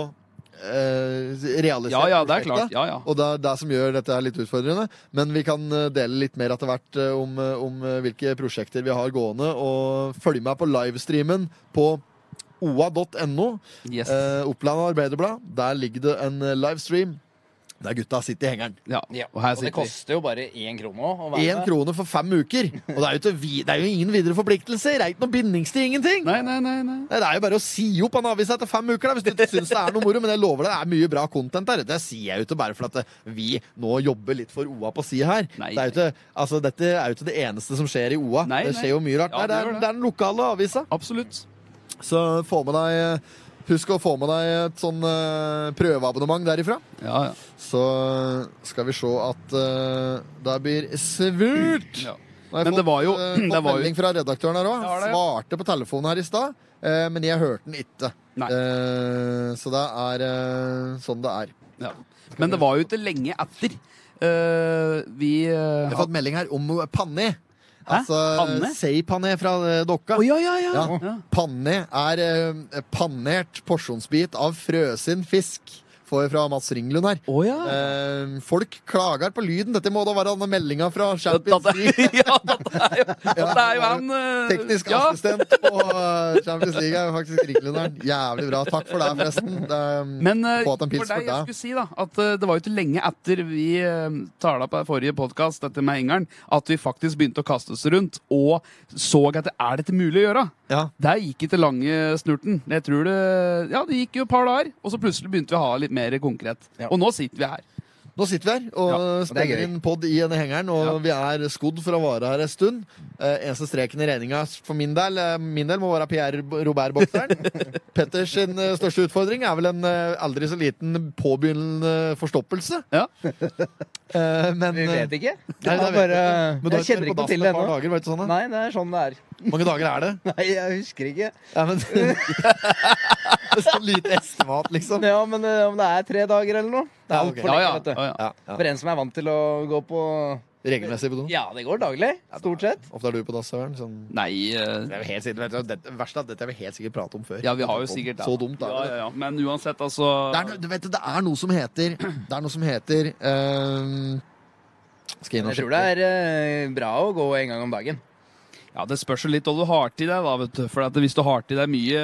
A: eh, realisert
C: Ja, ja, det
A: prosjektet.
C: er klart. Ja, ja.
A: Og det er det som gjør dette her litt utfordrende. Men vi kan eh, dele litt mer etter hvert eh, om, eh, om eh, hvilke prosjekter vi har gående. Og følg med på livestreamen på oa.no.
C: Yes.
A: Eh, Oppland Arbeiderblad. Der ligger det en eh, livestream der gutta sitter i hengeren.
C: Ja.
B: Ja.
C: Og her
B: Og det
C: sitter vi.
B: koster jo bare én krone også å være
A: Én
B: med.
A: krone for fem uker. Og det er jo, ikke vi, det er jo ingen videre forpliktelser. Det er ikke noe bindingstid. Ingenting.
C: Nei, nei, nei. nei.
A: Nei, Det er jo bare å si opp han avisa etter fem uker, da, hvis du ikke syns det er noe moro. Men jeg lover deg, det er mye bra content der. Det sier jeg jo ikke bare for at eh, vi nå jobber litt for OA på sida her.
C: Nei.
A: Det er jo ikke, altså, dette er jo ikke det eneste som skjer i OA.
C: Nei,
A: det
C: nei.
A: skjer jo mye rart.
C: Ja,
A: Nei, det,
C: det gjør
A: er,
C: det.
A: det er den lokale avisa.
C: Absolutt.
A: Så få med deg eh, Husk å få med deg et sånn eh, prøveabonnement derifra.
C: Ja, ja.
A: Så skal vi se at eh, det blir svurt.
C: ja.
A: Nå har jeg
C: Men det
A: fått,
C: var jo-
A: eh,
C: det
A: fått
C: var jo-
A: melding fra redaktøren her òg.
C: Ja, det er-
A: Svarte på telefonen her i stad, eh, men jeg hørte den ikke.
C: Nei.
A: Eh, så det er eh, sånn det er.
C: Ja. Men det var jo ikke lenge etter. eh, vi
A: Jeg
C: eh,
A: har
C: had-
A: fått melding her om pané. Altså
C: Panne?
A: seigpané fra eh, dokka.
C: Å, ja, ja, ja.
A: Ja.
C: ja.
A: Panne er eh, pannert porsjonsbit av frøsen fisk. får fra Mats Ringlund her.
C: Å ja.
A: Eh, folk klager på lyden. Dette må da være denne meldinga fra Champions
C: Dette-
A: League.
C: ja, dette er jo, dette er jo han eh,
A: Teknisk
C: ja.
A: assistent på eh, Champions League er jo faktisk Ringlunderen. Jævlig bra. Takk for deg, forresten. Det, eh,
C: Men eh,
A: Få at en
C: for deg,
A: pils for
C: jeg
A: deg.
C: skulle si da at eh, det var jo ikke lenge etter vi uh, tala på forrige podkast, dette med Engeren, at vi faktisk begynte å kaste oss rundt og så etter er dette mulig å gjøre.
A: ja.
C: Der gikk ikke lange snurten. Jeg tror det, ja, det gikk jo et par dager, og så plutselig begynte vi å ha litt mer konkret.
B: Ja.
C: Og nå sitter vi her.
A: Nå sitter vi her og
B: det er
A: spiller
B: gøy.
A: inn pod i denne hengeren, og vi er skodd for å vare her en stund. Eh, eneste streken i regninga for min del, eh, min del må være Pierre B- Robert-bokseren. Petters sin, eh, største utfordring er vel en eh, aldri så liten påbegynnende forstoppelse.
C: Ja.
A: Eh, men
B: Vi vet ikke.
A: Nei,
B: Nei,
A: det
B: det
A: vet
B: er bare,
A: Men du har
B: jeg
A: vært på
B: kjenner ikke
A: dassen
B: til det
A: et par
B: ennå.
A: dager, vet du sånn, da?
B: Nei, det er sånn det er.
A: Mange dager er det?
B: Nei, jeg husker ikke.
A: Ja, men, det er så lite estimat, liksom.
B: Ja, Men eh, om det er tre dager eller noe Det er
A: Ja,
B: alt
A: ok.
B: for
C: Ja,
B: lenge,
C: ja.
B: vet du.
C: ja, ja.
A: Ja, ja.
B: For en som er vant til å gå på
A: Regelmessig på do.
B: Ja, det går daglig. Stort sett.
A: Ofte er du på dass, Søren. Sånn.
C: Nei eh,
A: Det er jo helt sikkert, vet du, dette- verst av alt, dette har vi helt sikkert pratet om før.
C: Ja, vi har jo sikkert
A: Så dumt, da.
C: da. Ja, ja, ja. Men uansett, altså
A: Det er, no- du vet, det er noe som heter Det er noe som heter ehm, Skal jeg inn og
B: Jeg
A: sjekke?
B: tror det er eh, bra å gå en gang om dagen.
C: Ja, Det spørs jo litt hva du har til deg. da, vet du. For at Hvis du har til deg mye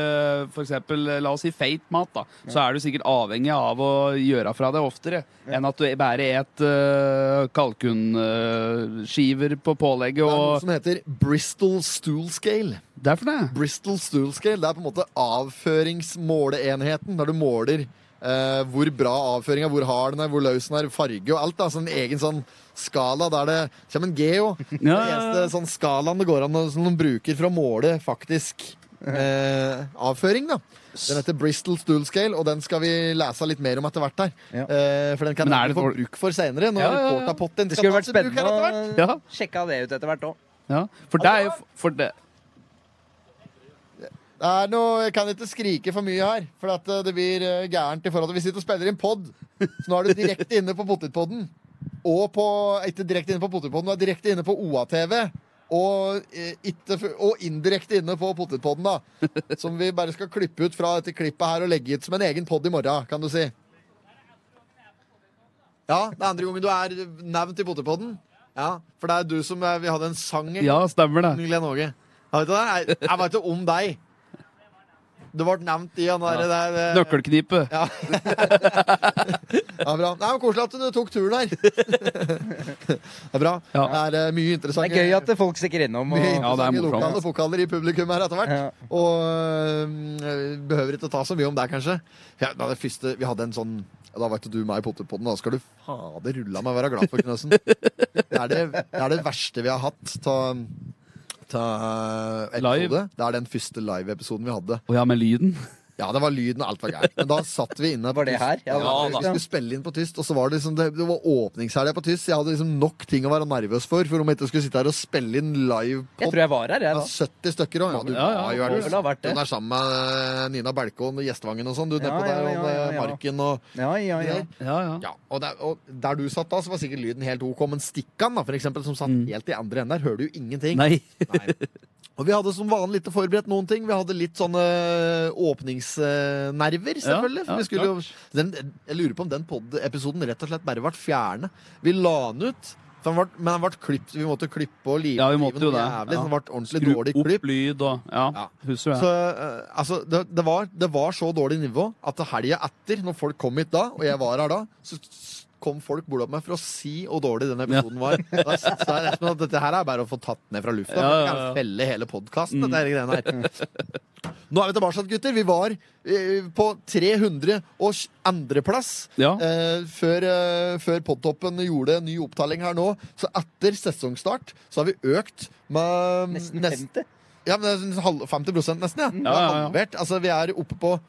C: for eksempel, eh, la oss si feit mat, da, så er du sikkert avhengig av å gjøre fra deg oftere enn at du bare et uh, kalkunskiver på pålegget.
A: Det er noe
C: og...
A: som heter Bristol Stool Scale.
C: Det er for det.
A: Bristol Stool Scale Det er på en måte avføringsmåleenheten, der du måler eh, hvor bra avføringa, hvor hard den er, hvor løs den er, farge og alt. Da. Så en egen sånn skala der det kommer en geo. Den
C: Ja, ja,
A: eneste
C: ja.
A: sånn skalaen det går an å som de bruker for å måle faktisk eh, avføring, da. Den heter Bristol Stool Scale, og den skal vi lese litt mer om etter hvert her.
B: Ja.
A: Eh, for den kan
C: Men er
A: vi
C: det
A: få
C: for-
A: bruk for seinere, når
C: Ja, ja, ja.
A: Portapotten
B: Det
A: skal
B: skulle
A: tas i
B: vært
A: bruk her etter
B: spennende
A: hvert.
B: å
C: Ja.
B: sjekke av det ut etter hvert òg.
C: ja. For det er jo for det.
A: Det er noe, jeg kan ikke skrike for mye her, for at eh, det blir eh, gærent i forhold til Vi sitter og spiller inn pod, så nå er du direkte inne på Potetpodden. Og på eh, Ikke direkte inne på Potetpodden, du er direkte inne på OA-TV. Og, eh, ikke fu- og indirekte inne på Potetpodden, da. Som vi bare skal klippe ut fra dette klippet her og legge ut som en egen pod i morgen, kan du si. Ja, det er andre gangen du er nevnt i Potetpodden. Ja, for det er du som eh, Vi hadde en sang en
C: Ja, stemmer det.
A: Glenn Åge. Jeg vet, ikke det. jeg jeg vet ikke om deg. Det ble nevnt i han der. der eh,
C: Nøkkelknipe.
A: Ja. ja, bra. Nei, men Koselig at du tok turen her. Det er bra. Det
C: Ja.
A: er eh, mye
B: Det
A: interessante
B: er gøy at folk stikker innom.
A: mye
B: Og,
C: Ja, det er
A: interessante lokale
C: morsomt.
A: pokaler i publikum her etter hvert.
B: Ja.
A: Og eh, behøver ikke å ta så mye om det, kanskje. Ja, da, det første, vi hadde en sånn ja, Da vet du meg i Potterpodden, da skal du fader rulla meg være glad for, Knøsen. Det er det, det er det verste vi har hatt ta, ta eh,
C: Live?
A: episode. Det er den første live-episoden vi hadde.
C: Å ja, med lyden.
A: Ja, det var lyden og alt var gærent. Men da satt vi inne på
B: Var det her?
A: Ja,
B: Ja,
A: vi
B: da.
A: skulle spille inn på tyst, og så var det liksom Det, det var åpningshelga på tyst. så Jeg hadde liksom nok ting å være nervøs for, for om jeg ikke skulle sitte her og spille inn live
B: jeg
A: pod
B: tror jeg var her, jeg,
A: ja,
B: da.
A: 70 stykker òg. Ja, du
C: Ja, ja,
A: var jo
C: må
A: her.
B: vel ha vært
A: Du
B: det.
A: er sammen med eh, Nina Belkon og Gjestvangen og sånn. Du
B: Ja,
A: nedpå der,
B: ja,
A: og
B: ja, ja,
A: eh,
B: ja.
A: Marken og
B: Ja, ja, ja.
C: Ja, ja.
A: ja, og der, og der du satt da, så var sikkert lyden helt OK. Men Stikkan, da, for eksempel, som satt helt i andre enden der, hører du jo ingenting.
C: Nei.
A: Nei. Og vi hadde som vanlig ikke forberedt noen ting. Vi hadde litt sånne eh, åpningsnerver, selvfølgelig.
C: Ja, ja,
A: for vi skulle jo, den, jeg lurer på om den pod-episoden rett og slett bare ble fjernet. Vi la den ut, for den ble, men den ble klippet. Vi måtte klippe og live
C: Ja, vi måtte
A: live
C: jo
A: den
C: det.
A: jævlig.
C: Ja.
A: så Den ble ordentlig
C: Skru
A: dårlig klipp.
C: opp lyd og Ja,
A: Ja.
C: husker
A: Så
C: du det?
A: eh, altså, det, det, var, det var så dårlig nivå at helga etter, når folk kom hit da, og jeg var her da, så s- kom folk bort opp meg for å si hvor dårlig den episoden var. Da s- sa jeg rett og slett at dette her er bare å få tatt ned fra lufta.
C: Ja,
A: for
C: ja, Mm.
A: Vi
C: ja.
A: kan felle hele podkasten, dette her greiene her. Nå er vi tilbake, gutter. Vi var eh, på 302.-plass.
C: Ja.
A: Eh, før eh, før Podtoppen gjorde en ny opptelling her nå, så etter sesongstart så har vi økt med
B: Nesten
A: nest-
B: 50.
A: ja, men det er sånn halv- 50 nesten, ja. Det
C: Ja,
A: er
C: ja, ja.
A: halvert. Altså, vi er oppe på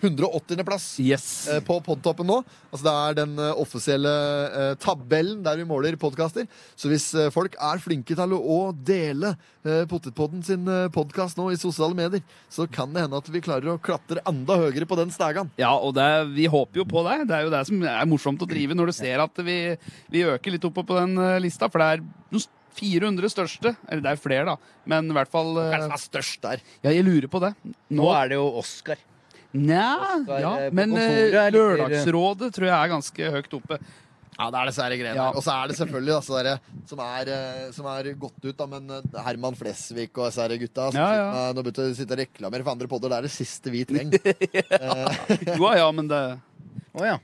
A: 180. plass
C: Yes.
A: eh, på podtoppen nå. Altså, det er den eh, offisielle eh, tabellen der vi måler podkaster. Så hvis eh, folk er flinke til å å dele eh, Potetpodden sin eh, podkast nå i sosiale medier, så kan det hende at vi klarer å klatre enda høyere på den stegan.
C: Ja, og det, vi håper jo på deg. Det er jo det som er morsomt å drive når du ser at vi, vi øker litt oppe på den eh, lista, for det er de 400 største. Eller det er flere, da, men i hvert fall eh,
A: er størst der?
C: Ja, jeg lurer på det.
B: Nå
C: Nå,
B: er det jo Oscar.
C: Nja,
B: Postgård,
C: ja,
B: eh, på
C: men
B: kontoret
C: eh,
B: er litt mer-
C: Lørdagsrådet tror jeg er ganske høyt oppe.
A: Ja, det er disse her greiene.
C: Ja.
A: Og så er det selvfølgelig disse der, som, er, eh, som er gått ut, da, men eh, Herman Flesvig og disse her gutta som
C: Ja,
A: sitter
C: ja.
A: med- nå begynte å sitte og reklamere for andre podder. Det er det siste vi trenger. Eh,
C: Jo ja, men det
B: Å ja.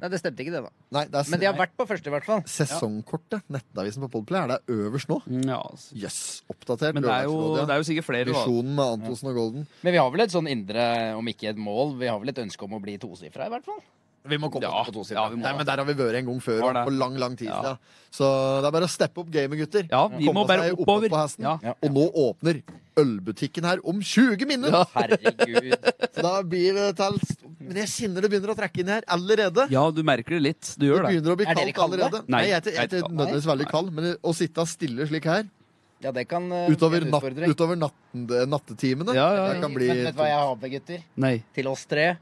B: Nei, det stemte ikke, det, da.
A: nei, det er
B: Men de har vært på første, i hvert fall.
A: Sesongkortet, nettavisen på Podplay, er det øverst nå?
C: ja, altså.
A: Jøss, oppdatert.
C: Men det er, jo,
A: Lørdagsrådet,
C: det er jo sikkert flere.
A: ja.
C: Da.
A: Visjonen med Antonsen og Golden.
B: Men vi har vel et sånn indre, om ikke et mål, vi har vel et ønske om å bli tosifra, i hvert fall.
A: Vi må komme
C: Ja,
A: oss på to sider.
C: ja, vi må
A: Nei,
C: det.
A: men der har vi vært en gang før,
C: Har det.
A: og for lang, lang tid
C: Ja.
A: siden. Så det er bare å steppe opp gamet, gutter.
C: Ja, vi
A: Komme
C: må bare
A: seg opp
C: oppover.
A: på hesten.
C: Ja.
B: Ja.
A: Og nå åpner ølbutikken her om 20 minutter!
B: Herregud.
A: Så da blir det til Men jeg kjenner det begynner å trekke inn her allerede.
C: ja, du merker det litt. Du
A: Det
C: gjør det.
A: begynner å bli
B: Er dere
A: kaldt
B: kalde?
A: allerede.
C: Nei,
A: Nei, jeg er ikke- jeg er
C: nei,
A: ikke nødvendigvis veldig kald, men å sitte stille slik her
B: Ja, det kan eh,
A: utover,
B: bli en
A: natt,
B: utfordring.
A: utover natten, nattetimene
C: Ja, ja,
A: Det
C: ja.
A: kan bli
B: Men vet du hva jeg har med, gutter?
C: Nei.
B: Til oss tre.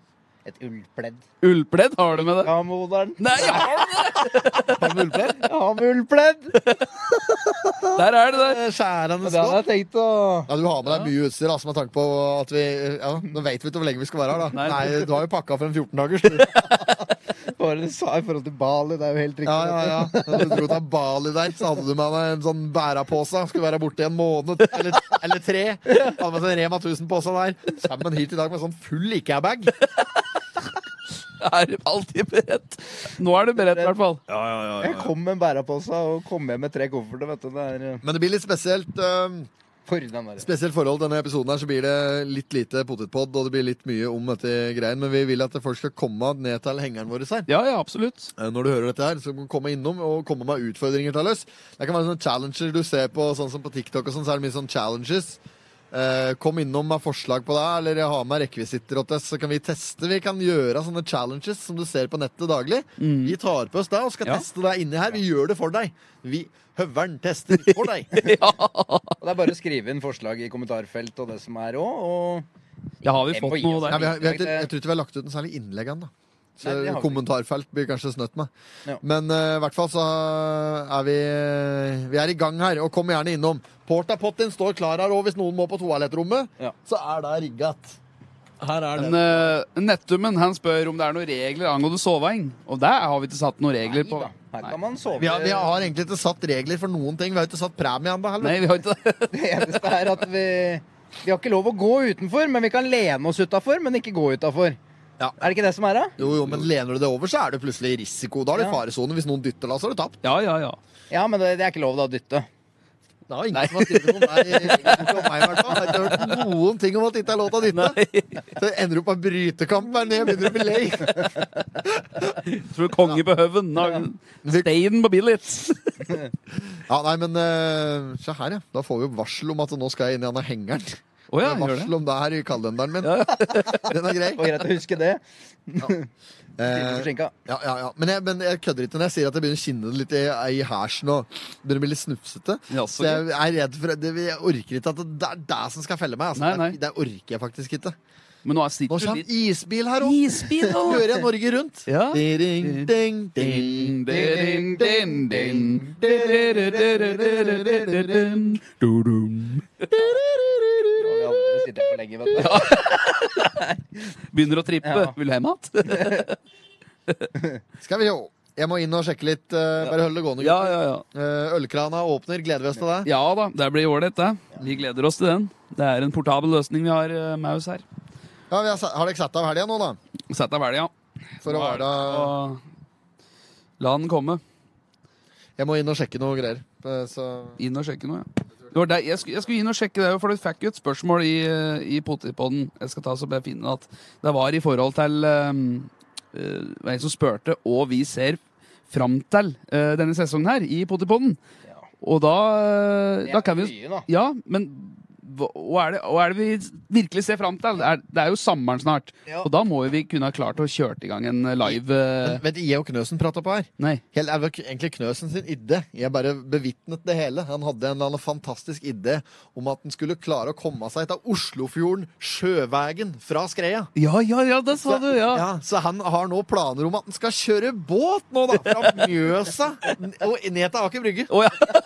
B: Et ullpledd.
C: Ullpledd har du med det?
B: Ja, moderen.
C: Nei, ja,
A: Har du ullpledd?
B: Jeg har med ullpledd!
C: der er det der.
A: Skjærende
B: Og Det hadde
A: skott.
B: jeg tenkt å
A: Ja, du har med deg mye utstyr, altså, med tanke på at vi ja, Nå vet vi ikke hvor lenge vi skal være her, da.
C: Nei.
A: Nei, du har jo pakka for en 14 dagers. du.
B: Hva var det du sa i forhold til Bali? Det er jo helt
A: Ja,
B: riktig.
A: ja, ja. Når du dro til Bali der, så hadde du med deg en sånn bærepose. Skulle være borte i en måned eller, eller tre. Hadde med seg en Rema 1000-pose der. Sammen hit i dag med sånn full IKEA-bag.
C: Er alltid beredt. Nå er du beredt, i hvert fall.
B: Jeg kom med en bærepose og kom hjem med tre kofferter, vet du. Det er eh,
A: Men det blir litt spesielt. øhm,
B: for den der.
A: Spesielt forhold denne episoden her, så blir det litt lite potetpod, og det blir litt mye om dette greien, men vi vil at folk skal komme ned til hengeren vår her.
C: Ja, ja, absolutt.
A: Eh, Når du hører dette her, så kan du komme innom og komme med utfordringer til oss. Det kan være sånne challenger du ser på, sånn som på TikTok og sånn, så er det mye sånn challenges. Eh, kom innom med forslag på det, eller ha med rekvisitter åt oss, så kan vi teste. Vi kan gjøre sånne challenges som du ser på nettet daglig. Vi tar på oss det og skal
C: Ja.
A: teste det inni her. Vi gjør det for deg. Vi høveren tester for deg.
B: Og Det er bare å skrive inn forslag i kommentarfelt og det som er òg, og
C: Ja, har vi fått
B: MPI,
C: noe
A: Nei,
B: altså.
C: der?
A: vi har, vi har, ikke- jeg tror ikke vi har lagt ut en særlig innlegg ennå. Så
B: Nei, det har vi ikke.
A: kommentarfelt blir kanskje snøtt med.
B: Ja.
A: Men eh, i hvert fall så eh, er vi eh, Vi er i gang her, og kom gjerne innom. Portapotten står klar her, og hvis noen må på toalettrommet,
B: Ja.
A: så er det rigget. Her er
C: Men, eh, Nettummen han spør om det er noen regler angående soving. Og der har vi ikke satt noen regler
B: Nei
C: på.
B: da. Her kan man sove.
A: Vi har, vi har egentlig ikke satt regler for noen ting. Vi har ikke satt premie ennå heller.
C: Nei, vi har ikke det.
B: Det eneste er at vi Vi har ikke lov å gå utenfor, men vi kan lene oss utafor, men ikke gå utafor.
A: Ja.
B: Er det ikke det som er, da?
A: Jo, jo, men lener du det over, så er det plutselig risiko. Da er det
B: Ja.
A: faresone. Hvis noen dytter deg, så er du tapt.
C: Ja, ja, ja.
B: Ja, men det, det er ikke lov da å dytte.
A: Det er jo ingen som har skrevet noe om meg, ikke om meg i hvert fall. Jeg har ikke hørt noen ting om at det ikke er lov til å dytte. Så ender du på en brytekamp der nede, begynner å bli lei.
C: Tror du konge på høven har steinen på Billits?
A: Ja, nei, men eh, se her, ja. Da får vi jo varsel om at nå skal jeg inn i denne hengeren.
C: Å ja,
A: Det er
C: gjør det.
A: varsel om det her i kalenderen min. Den er grei.
B: Det var greit å huske det. Litt
A: Eh,
B: forsinka.
A: ja, ja, ja. Men, jeg, men jeg kødder ikke når jeg sier at jeg begynner å kinne det litt i, i hersen og begynner å bli litt snufsete.
C: Ja,
A: Så
C: så
A: jeg er redd for det, Jeg orker ikke at det, det er det som skal felle meg. Altså.
C: Nei, nei.
A: Det, det orker jeg faktisk ikke.
C: Men nå er
A: Nå
C: sitter du
A: kommer
C: litt
A: isbil her òg!
C: Isbil nå!
A: Hører jeg Norge Rundt?
C: Ja.
A: Ding, ding, ding,
C: Ding, ding, ding, ding. Du-du-du-du-du-du-du-du. Du-dum.
B: Nå har vi aldri sittet for lenge, vet du.
C: Begynner å trippe.
B: Ja.
C: Vil du hjem igjen?
A: Skal vi jo. Jeg må inn og sjekke litt. eh, bare hold det gående.
C: Ja,
A: gutter.
C: ja, ja.
A: Eh, Ølkrana åpner. Gleder vi oss til det?
C: Ja da, det blir ålreit, det. Vi gleder oss til den. Det er en portabel løsning vi har eh, med oss her.
A: Ja, vi har, sa- har dere satt av helga nå, da?
C: Sett deg vel, ja.
A: For å være
C: Og La den komme.
A: Jeg må inn og sjekke noe greier. Eh, Så
C: Inn og sjekke noe, ja. Det var der, jeg, skulle, jeg skulle inn og sjekke det, for du fikk jo et spørsmål i, eh, i Potipodden. Jeg skal ta så bare finne at det var i forhold til um, uh, en som spurte hva vi ser fram til eh, denne sesongen her i Potipodden.
B: Ja.
C: Og da, eh,
B: Det
C: da
B: er
C: kan vi
B: mye, da.
C: Ja, men hva, hva, er det, hva er det vi virkelig ser fram til? Det er, det er jo sommeren snart.
B: Ja.
C: Og da må jo vi kunne ha klart å kjørt i gang en live eh,
A: Vet du, jeg og Knøsen prata på her.
C: Nei.
A: Helt, det var egentlig Knøsen sin idé. Jeg bare bevitnet det hele. Han hadde en eller annen fantastisk idé om at han skulle klare å komme seg til Oslofjorden sjøveien fra Skreia.
C: Ja, ja, ja, det sa du! Ja.
A: Ja, så han har nå planer om at han skal kjøre båt nå, da! Fra Mjøsa og ned til Aker Brygge.
C: Å, ja.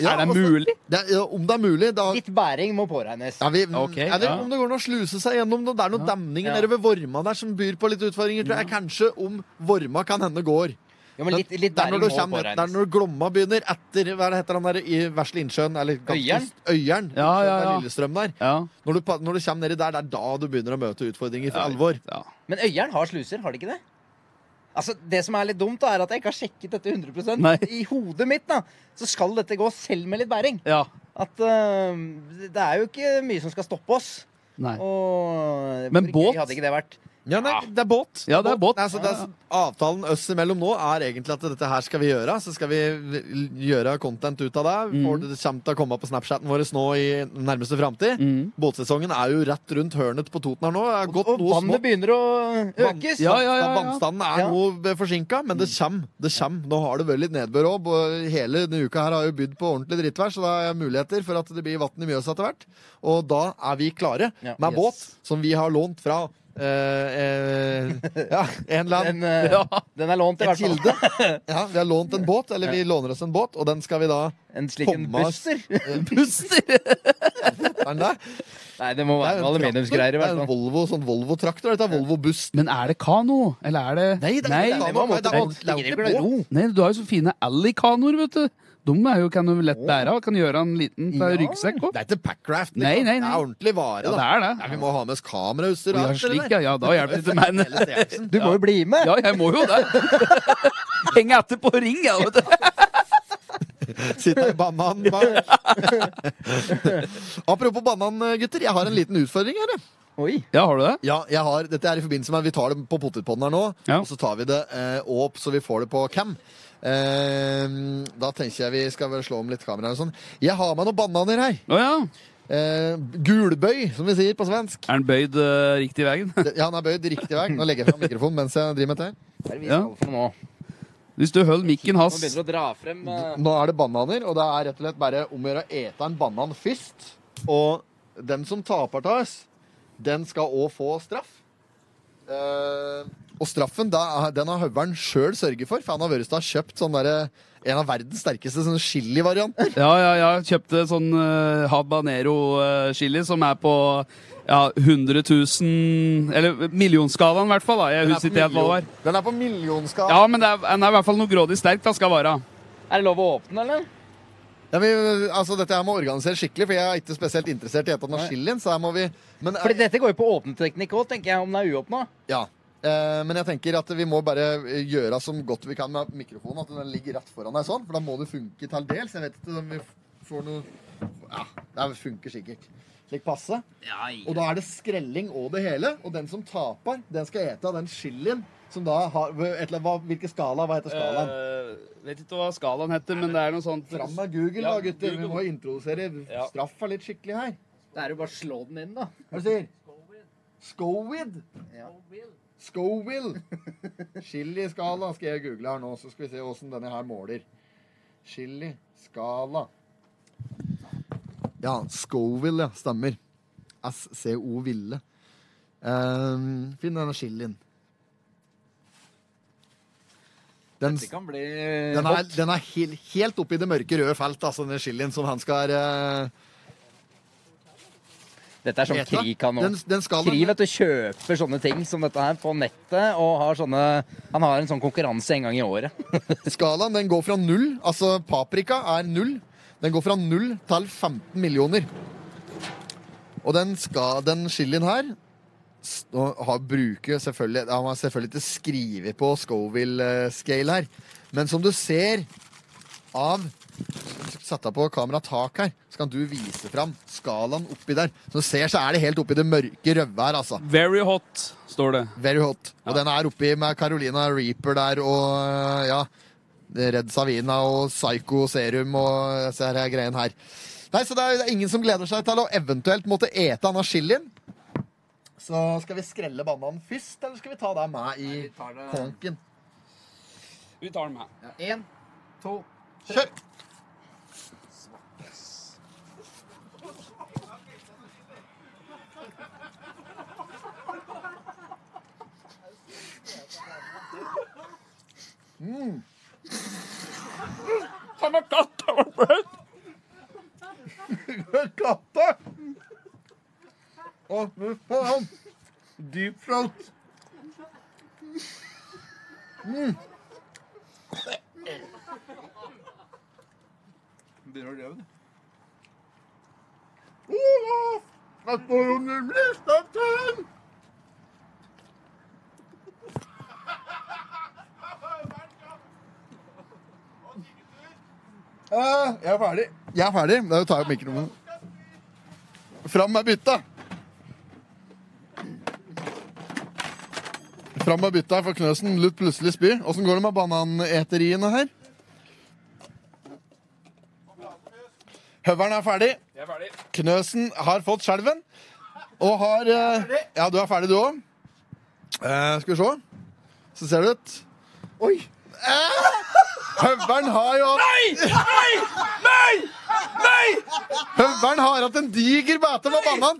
A: Ja,
C: er det
A: altså,
C: mulig?
A: Det er, ja, om det er mulig, da
B: Litt bæring må påregnes.
A: ja, vi,
C: Ok,
A: Jeg vet
C: ja.
A: ikke om det går an å sluse seg gjennom noe. Det er noen
C: Ja.
A: demninger
C: Ja. Mm.
A: nede ved Vorma der som byr på litt utfordringer, tror jeg. Kanskje om Vorma kan hende går.
B: Jo, men litt,
A: Det
B: litt
A: er når,
B: bæring må
A: du kommer, det er
B: påregnes.
A: når Glomma begynner etter hva er det heter han der i Vesle Innsjøen, eller ganske-
B: Øyeren?
A: Øyeren.
C: Ja, ja,
A: Innsjøen, det er
C: ja.
A: Lillestrøm der.
C: Ja.
A: Når du, pa- når du kommer nedi der, det er da du begynner å møte utfordringer for
C: Ja.
A: alvor.
C: ja.
B: Men Øyeren har sluser, har de ikke det? Altså, Det som er litt dumt, da, er at jeg ikke har sjekket dette 100
C: Nei.
B: I hodet mitt da, så skal dette gå selv med litt bæring.
C: ja.
B: At eh, Det er jo ikke mye som skal stoppe oss.
C: Nei.
B: Og
C: Men
B: hvor gøy
C: båt?
B: hadde ikke det vært?
A: Ja, nei, det er båt.
C: Ja, det er båt.
A: Nei, så det er, avtalen oss imellom nå er egentlig at dette her skal vi gjøre. Så skal vi l- gjøre content ut av det.
C: Mm.
A: Får Det kommer til å komme på Snapchaten vår nå i nærmeste framtid.
C: Mm.
A: Båtsesongen er jo rett rundt hørnet på Toten her nå. Det har
B: Og,
A: gått
B: og
A: noe
B: vannet
A: smått.
B: begynner å
A: Vann-
B: økes.
C: Ja, ja, ja, ja.
A: Vannstanden er
B: Ja.
A: noe forsinka, men det kommer. Det kommer. Nå har det vært litt nedbør òg. Hele denne uka her har jo bydd på ordentlig drittvær, så det er muligheter for at det blir vann i Mjøsa etter hvert. Og da er vi klare
B: Ja.
A: med
B: Yes.
A: båt som vi har lånt fra eh, eh, ja, en eller annen
B: Den, eh,
C: Ja.
B: den er lånt, i
A: en
B: hvert fall.
A: kilde. Ja, vi har lånt en båt, eller vi låner oss en båt, og den skal vi da
B: En slik en
A: Thomas.
B: buster.
C: Puster!
A: Er den der?
B: Nei, det må være
A: en
B: noe aluminiumsgreier. i
A: traktor. Det er en
B: hvert fall.
A: Volvo, sånn Volvo-traktor. Dette er Volvo-buss.
C: Men er det kano, eller er det
A: Nei, det er
C: Nei.
A: ikke
B: Det
A: kano.
B: var
A: Nei, det er
B: motorbåt.
A: jo- det er jo
B: Ligger
A: ikke
B: i ro.
C: Nei, du har jo så fine alley-kanoer, vet du. De er jo, kan du lett bære av. Kan gjøre en liten til
B: Ja.
C: ryggsekk òg.
A: Det er ikke Packraft.
C: Nei, nei, nei.
A: Det er ordentlig vare.
C: Ja, det
A: Da.
C: er det.
A: Ja, vi må ha med oss kamerautstyr.
C: Å, ja,
A: alt det
C: slik,
A: der.
C: ja. ja, da hjelper det ikke meg. men-
A: Hele seansen.
B: Du må jo bli med!
C: Ja, jeg må jo det. Henge etter på ring, jeg, vet du.
A: Sitter i bananen bak. Apropos banan, gutter. Jeg har en liten utfordring her. jeg.
B: Oi.
C: Ja, har du det?
A: Ja, jeg har, dette er i forbindelse med at Vi tar det på potetpodden her nå,
C: Ja.
A: og så tar vi det eh, opp så vi får det på cam. Eh, da tenker jeg vi skal vel slå om litt kamera og sånn. Jeg har med noen bananer her.
C: Å ja.
A: Eh, gulbøy, som vi sier på svensk.
C: Er den bøyd eh, riktig veien?
A: Det- Ja, han er bøyd riktig vei. Nå legger jeg fram mikrofonen mens jeg driver med dette.
B: Hva er det vi
C: Ja.
B: skal for noe nå?
C: Hvis du holder mikken
B: Nå
C: hans
B: begynner du å dra frem eh,
A: Nå er det bananer, og det er rett og slett bare om å gjøre å ete en banan først. Og den som taper til oss, den skal òg få straff. Eh, og straffen da, er- den har høveren sjøl sørget for, for han har Vørestad kjøpt sånn derre en av verdens sterkeste sånn chili-varianter.
C: Ja, ja, ja. Kjøpte sånn eh, habanero-chili som er på ja, 100 000 Eller millionskalaen, i hvert fall. da. Jeg husker ikke helt hva det var.
A: Den er på millionskala.
C: Ja, men det er, den er i hvert fall noe grådig sterkt, da, skal være.
B: Er det lov å åpne, eller?
A: Ja, men, altså, dette her må organiseres skikkelig, for jeg er ikke spesielt interessert i å ete den av chilien. Så her må vi men, eh,
B: Fordi dette går jo på åpneteknikk òg, tenker jeg, om den er uåpna.
A: Ja. Eh, Men jeg tenker at vi må bare eh, gjøre som godt vi kan med mikrofonen. At den ligger rett foran deg sånn, for da må det funke til dels. Jeg vet ikke om vi får noe Ja, det funker sikkert. Slik passe. Og da er det skrelling over det hele. Og den som taper, den skal ete av den chilien som da har et eller annet- hva- Hvilken skala? Hva heter
C: Eh,
A: skalaen?
C: vet ikke hva skalaen heter, men det er noe sånt
A: Fram med Google,
C: Ja,
A: da, gutter. Vi
C: Google.
A: må introdusere
C: Ja.
A: straffa litt skikkelig her.
B: Det er jo bare å slå den inn, da.
A: Hva er det du sier Scowid.
B: Ja.
A: Scoville. Chiliskala skal jeg google her nå, så skal vi se åssen denne her måler. Chiliskala. Ja, Scoville, ja. Stemmer. SCO-ville. Um, finn denne chilien. Den,
B: Det kan bli
A: den er, den er hel, helt oppi det mørke røde felt, altså, den chilien som han skal eh,
B: Dette er sånn
A: ete.
B: Kri kan nå.
A: Den, den skal
B: Kri vet du, kjøper sånne ting som dette her på nettet, og har sånne Han har en sånn konkurranse en gang i året.
A: Skalaen den går fra null, altså paprika er null. Den går fra null til 15 millioner. Og den, ska, den chilien her s- og har bruker selvfølgelig Han har selvfølgelig ikke skrevet på Scoville-scale her, men som du ser av Satt deg på kameratak her, så kan du vise fram skalaen oppi der. Som du ser, så er det helt oppi det mørke røde her, altså.
C: Very hot, står det.
A: Very hot. Og den er oppi med Carolina Reaper der og eh, ja, Red Savina og Psycho Serum og disse her greiene her. Nei, så det er, det er ingen som gleder seg til å eventuelt måtte ete denne chilien. Så skal vi skrelle bananen først, eller skal vi ta deg med i konken?
C: Vi tar den med.
B: Én, to
A: Kjør!
C: Mm. Den var godt, den var godt.
A: ligger en katte! Å, fy faen! Deep throat. Mm.
D: Begynner å leve, du.
A: Åh, Jeg står under blisteren! Eh, Jeg er ferdig. Jeg er ferdig. Da tar jeg opp mikrofonen. Fram med bytta! Fram med bytta for Knøsen lot plutselig spy. Åssen går det med bananeteriene her? Høveren er ferdig.
C: Jeg er ferdig.
A: Knøsen har fått skjelven. Og har eh, Ja, du er ferdig, du òg. skal vi se. Så ser det ut. Oi! Høveren har jo hatt Nei! Nei! Nei! Høveren har hatt en diger bæte med banan.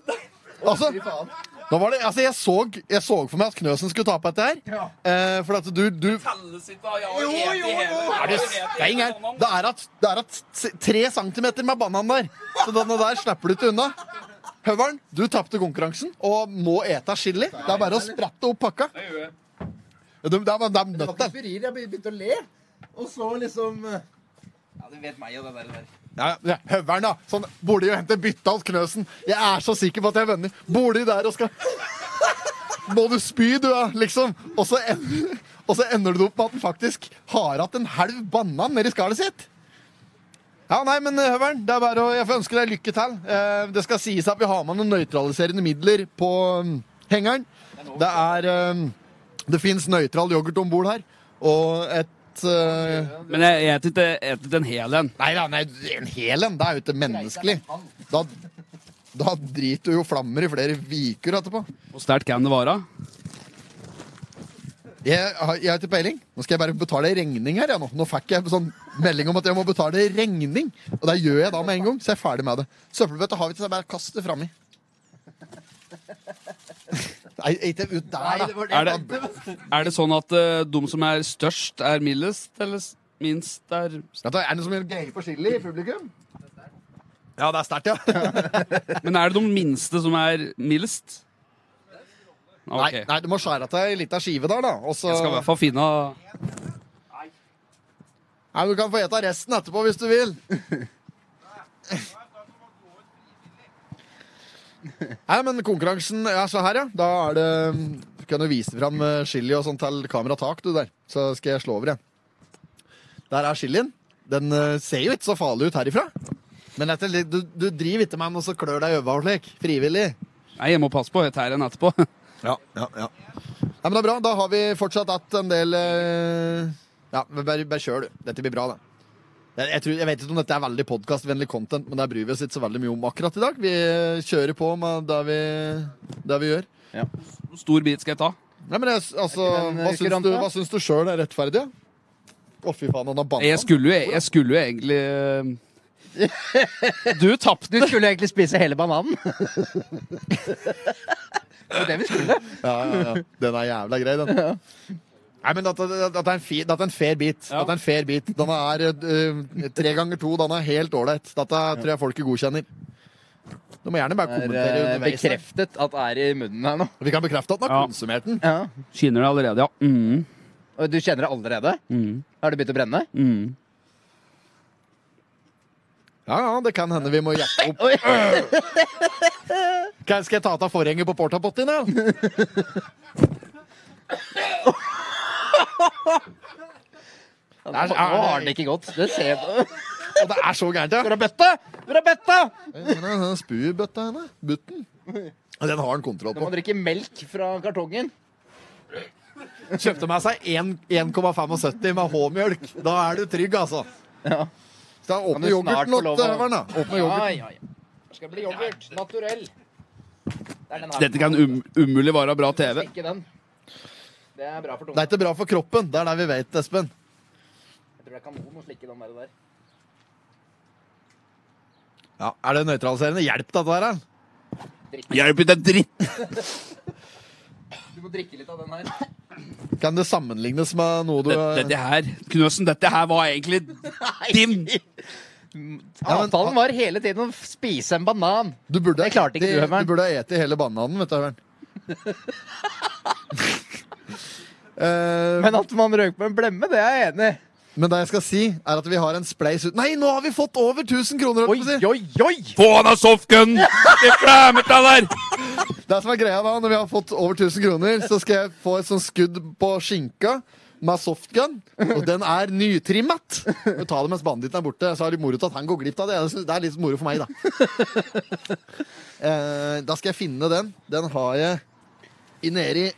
A: Altså, nå var det, altså jeg, så, jeg så for meg at Knøsen skulle tape dette her. Eh, for at du, du
C: Telles ikke, da. Jeg har et i hele-
A: er det stein her? Det er at, det er at s- tre centimeter med banan der. Så denne der slipper du ikke unna. Høveren, du tapte konkurransen og må ete chili. Det er bare å sprette opp pakka.
C: Det gjør jeg.
A: Det er, det er, det er
E: Det var ikke
A: nøtter.
E: spiril, jeg begynte å le. Og så liksom eh,
D: Ja, du vet meg og det der. der.
A: Ja, ja, høveren, da. Sånn, Burde jo hente bytte hos Knøsen. Jeg er så sikker på at jeg vinner. Burde de der og skal Må du spy, du, ja, liksom. Og så ender, og så ender du opp med at han faktisk har hatt en halv banan nedi skallet sitt. Ja, nei, men eh, Høveren, det er bare å, jeg får ønske deg lykke til. Eh, det skal sies at vi har med noen nøytraliserende midler på mm, hengeren. Det er eh, Det fins nøytral yoghurt om bord her, og et eh,
C: Men jeg jeg et ikke jeg et ikke en hel en.
A: Nei da, nei, en hel en. Det er jo ikke menneskelig. Da, da driter du jo flammer i flere viker etterpå.
C: Hvor sterkt kan det være?
A: Jeg har, jeg har ikke peiling. Nå skal jeg bare betale regning her. Ja, nå. nå fikk jeg sånn melding om at jeg må betale regning. Og det gjør jeg da med en gang, så jeg er ferdig med det. Søppelbøtta har vi ikke, så jeg bare kast det frami. Nei, ikke ut der, da.
C: Er det, er det sånn at eh, de som er størst, er mildest, eller s- minst er
A: Vet du, Er det noe som gjør greier for chili i publikum? Ja, det er sterkt, ja.
C: Men er det de minste som er mildest?
A: Nei,
C: Ok.
D: altså-
A: nei, du må skjære av deg ei lita skive der, da. Og så
C: Jeg skal i hvert fall finne
A: Nei, Du kan få ete resten etterpå hvis du vil. Nei, men konkurransen ja, så her, ja. Da er det Du kan jo vise fram eh, chili og sånn til kameratak, du der. Så skal jeg slå over igjen. Der er chilien. Den eh, ser jo ikke så farlig ut herifra. Men dette, li- du, du driver ikke med den og så klør deg i øynene og slik. Frivillig.
C: Nei, jeg må passe på. Jeg tar en etterpå.
A: Ja, ja, ja. Nei, men det er bra. Da har vi fortsatt hatt en del eh, Ja, men bare, bare kjør, du. Dette blir bra, det. Jeg, jeg, tror, jeg vet ikke om dette er veldig podkastvennlig content, men det bryr vi oss ikke så veldig mye om akkurat i dag. Vi kjører på med det vi, det vi gjør.
C: Hvor stor bit skal jeg ta?
A: Nei, men jeg, altså,
B: Er ikke den
A: hva syns,
B: kurant,
A: du,
B: da?
A: hva syns du sjøl er rettferdig? Å, fy faen, han har
C: Jeg
A: banna.
C: skulle jo, jeg skulle jo egentlig eh, Du tapte.
B: Du skulle egentlig spise hele bananen. Det var det vi skulle.
A: Ja, ja, ja. Den er jævla grei, den. Nei, men dette, dette, er en fi, dette er en fair bit.
C: Ja.
A: Dette er en fair bit. Denne er eh, tre ganger to. Denne er helt ålreit. Dette tror jeg folket godkjenner. Du må gjerne bare
B: Det
A: kommentere
B: er eh,
A: underveis. der.
B: bekreftet at det er i munnen her nå.
A: Vi kan bekrefte at den har
C: Ja.
A: konsumert den.
B: Ja.
C: Skinner det allerede, ja. Mm,
B: Og du kjenner det allerede?
C: mm,
B: Har det begynt å brenne?
C: mm.
A: Ja, ja, det kan hende vi må hjelpe opp. Kan- Skal jeg ta av forhenget på portapottien, da?
B: Ja,
A: er-
B: Nå nå har den ikke gått. Det ser jeg.
A: Og det er så gærent, ja.
B: Hvor er bøtta? Hvor er bøtta?
A: Den Spuebøtta henne. Butten. Og Den har han kontroll
B: Du må
A: på.
B: drikke melk fra kartongen.
A: Kjøpte meg seg en- 1,75 med H-mjølk. Da er du trygg, altså.
B: Ja.
A: Så da
B: Kan
A: åpner
B: du snart
A: yoghurten
B: få
A: opp,
B: lov å-
A: Høveren, da. Åpne yoghurten.
B: Ja, ja, ja. Det skal bli yoghurt. Naturell. Det er den her.
C: Dette kan um, umulig være bra TV.
B: Ikke den. Det er bra for
A: Det
B: tunga.
A: er ikke bra for kroppen. Det er det vi vet, Espen.
B: Jeg tror det er kanon å slikke den der. der.
A: Ja, Er det nøytraliserende? Hjelp dette her, da.
C: Hjelp ikke en dritt!
B: Du må drikke litt av den her.
A: Kan det sammenlignes med noe du
C: Dette, dette her, Knøsen, dette her var egentlig din
A: Ja, men-
B: Avtalen var hele tiden å f- spise en banan.
A: Du burde
B: Det klarte ikke
A: eti-
B: du,
A: Du
B: Høveren.
A: burde ha eti hele bananen, vet du, Høveren. Eh, men,
B: Men at man røk på en blemme, det er jeg enig i.
A: det jeg skal si, er at vi har en spleis ut Nei, nå har vi fått over 1000 kroner!
B: Oi,
A: holdt jeg på å si.
B: oi, oi!
C: Få han av softgun! Det flemmer deg der!
A: Det som er greia da, Når vi har fått over 1000 kroner, så skal jeg få et sånt skudd på skinka med softgun. Og den er nytrimmet! Men Ta det mens banditten er borte, så har de moro til at han går glipp av det. Jeg synes Det er litt moro for meg, da. Eh, da skal jeg finne den. Den har jeg i nedi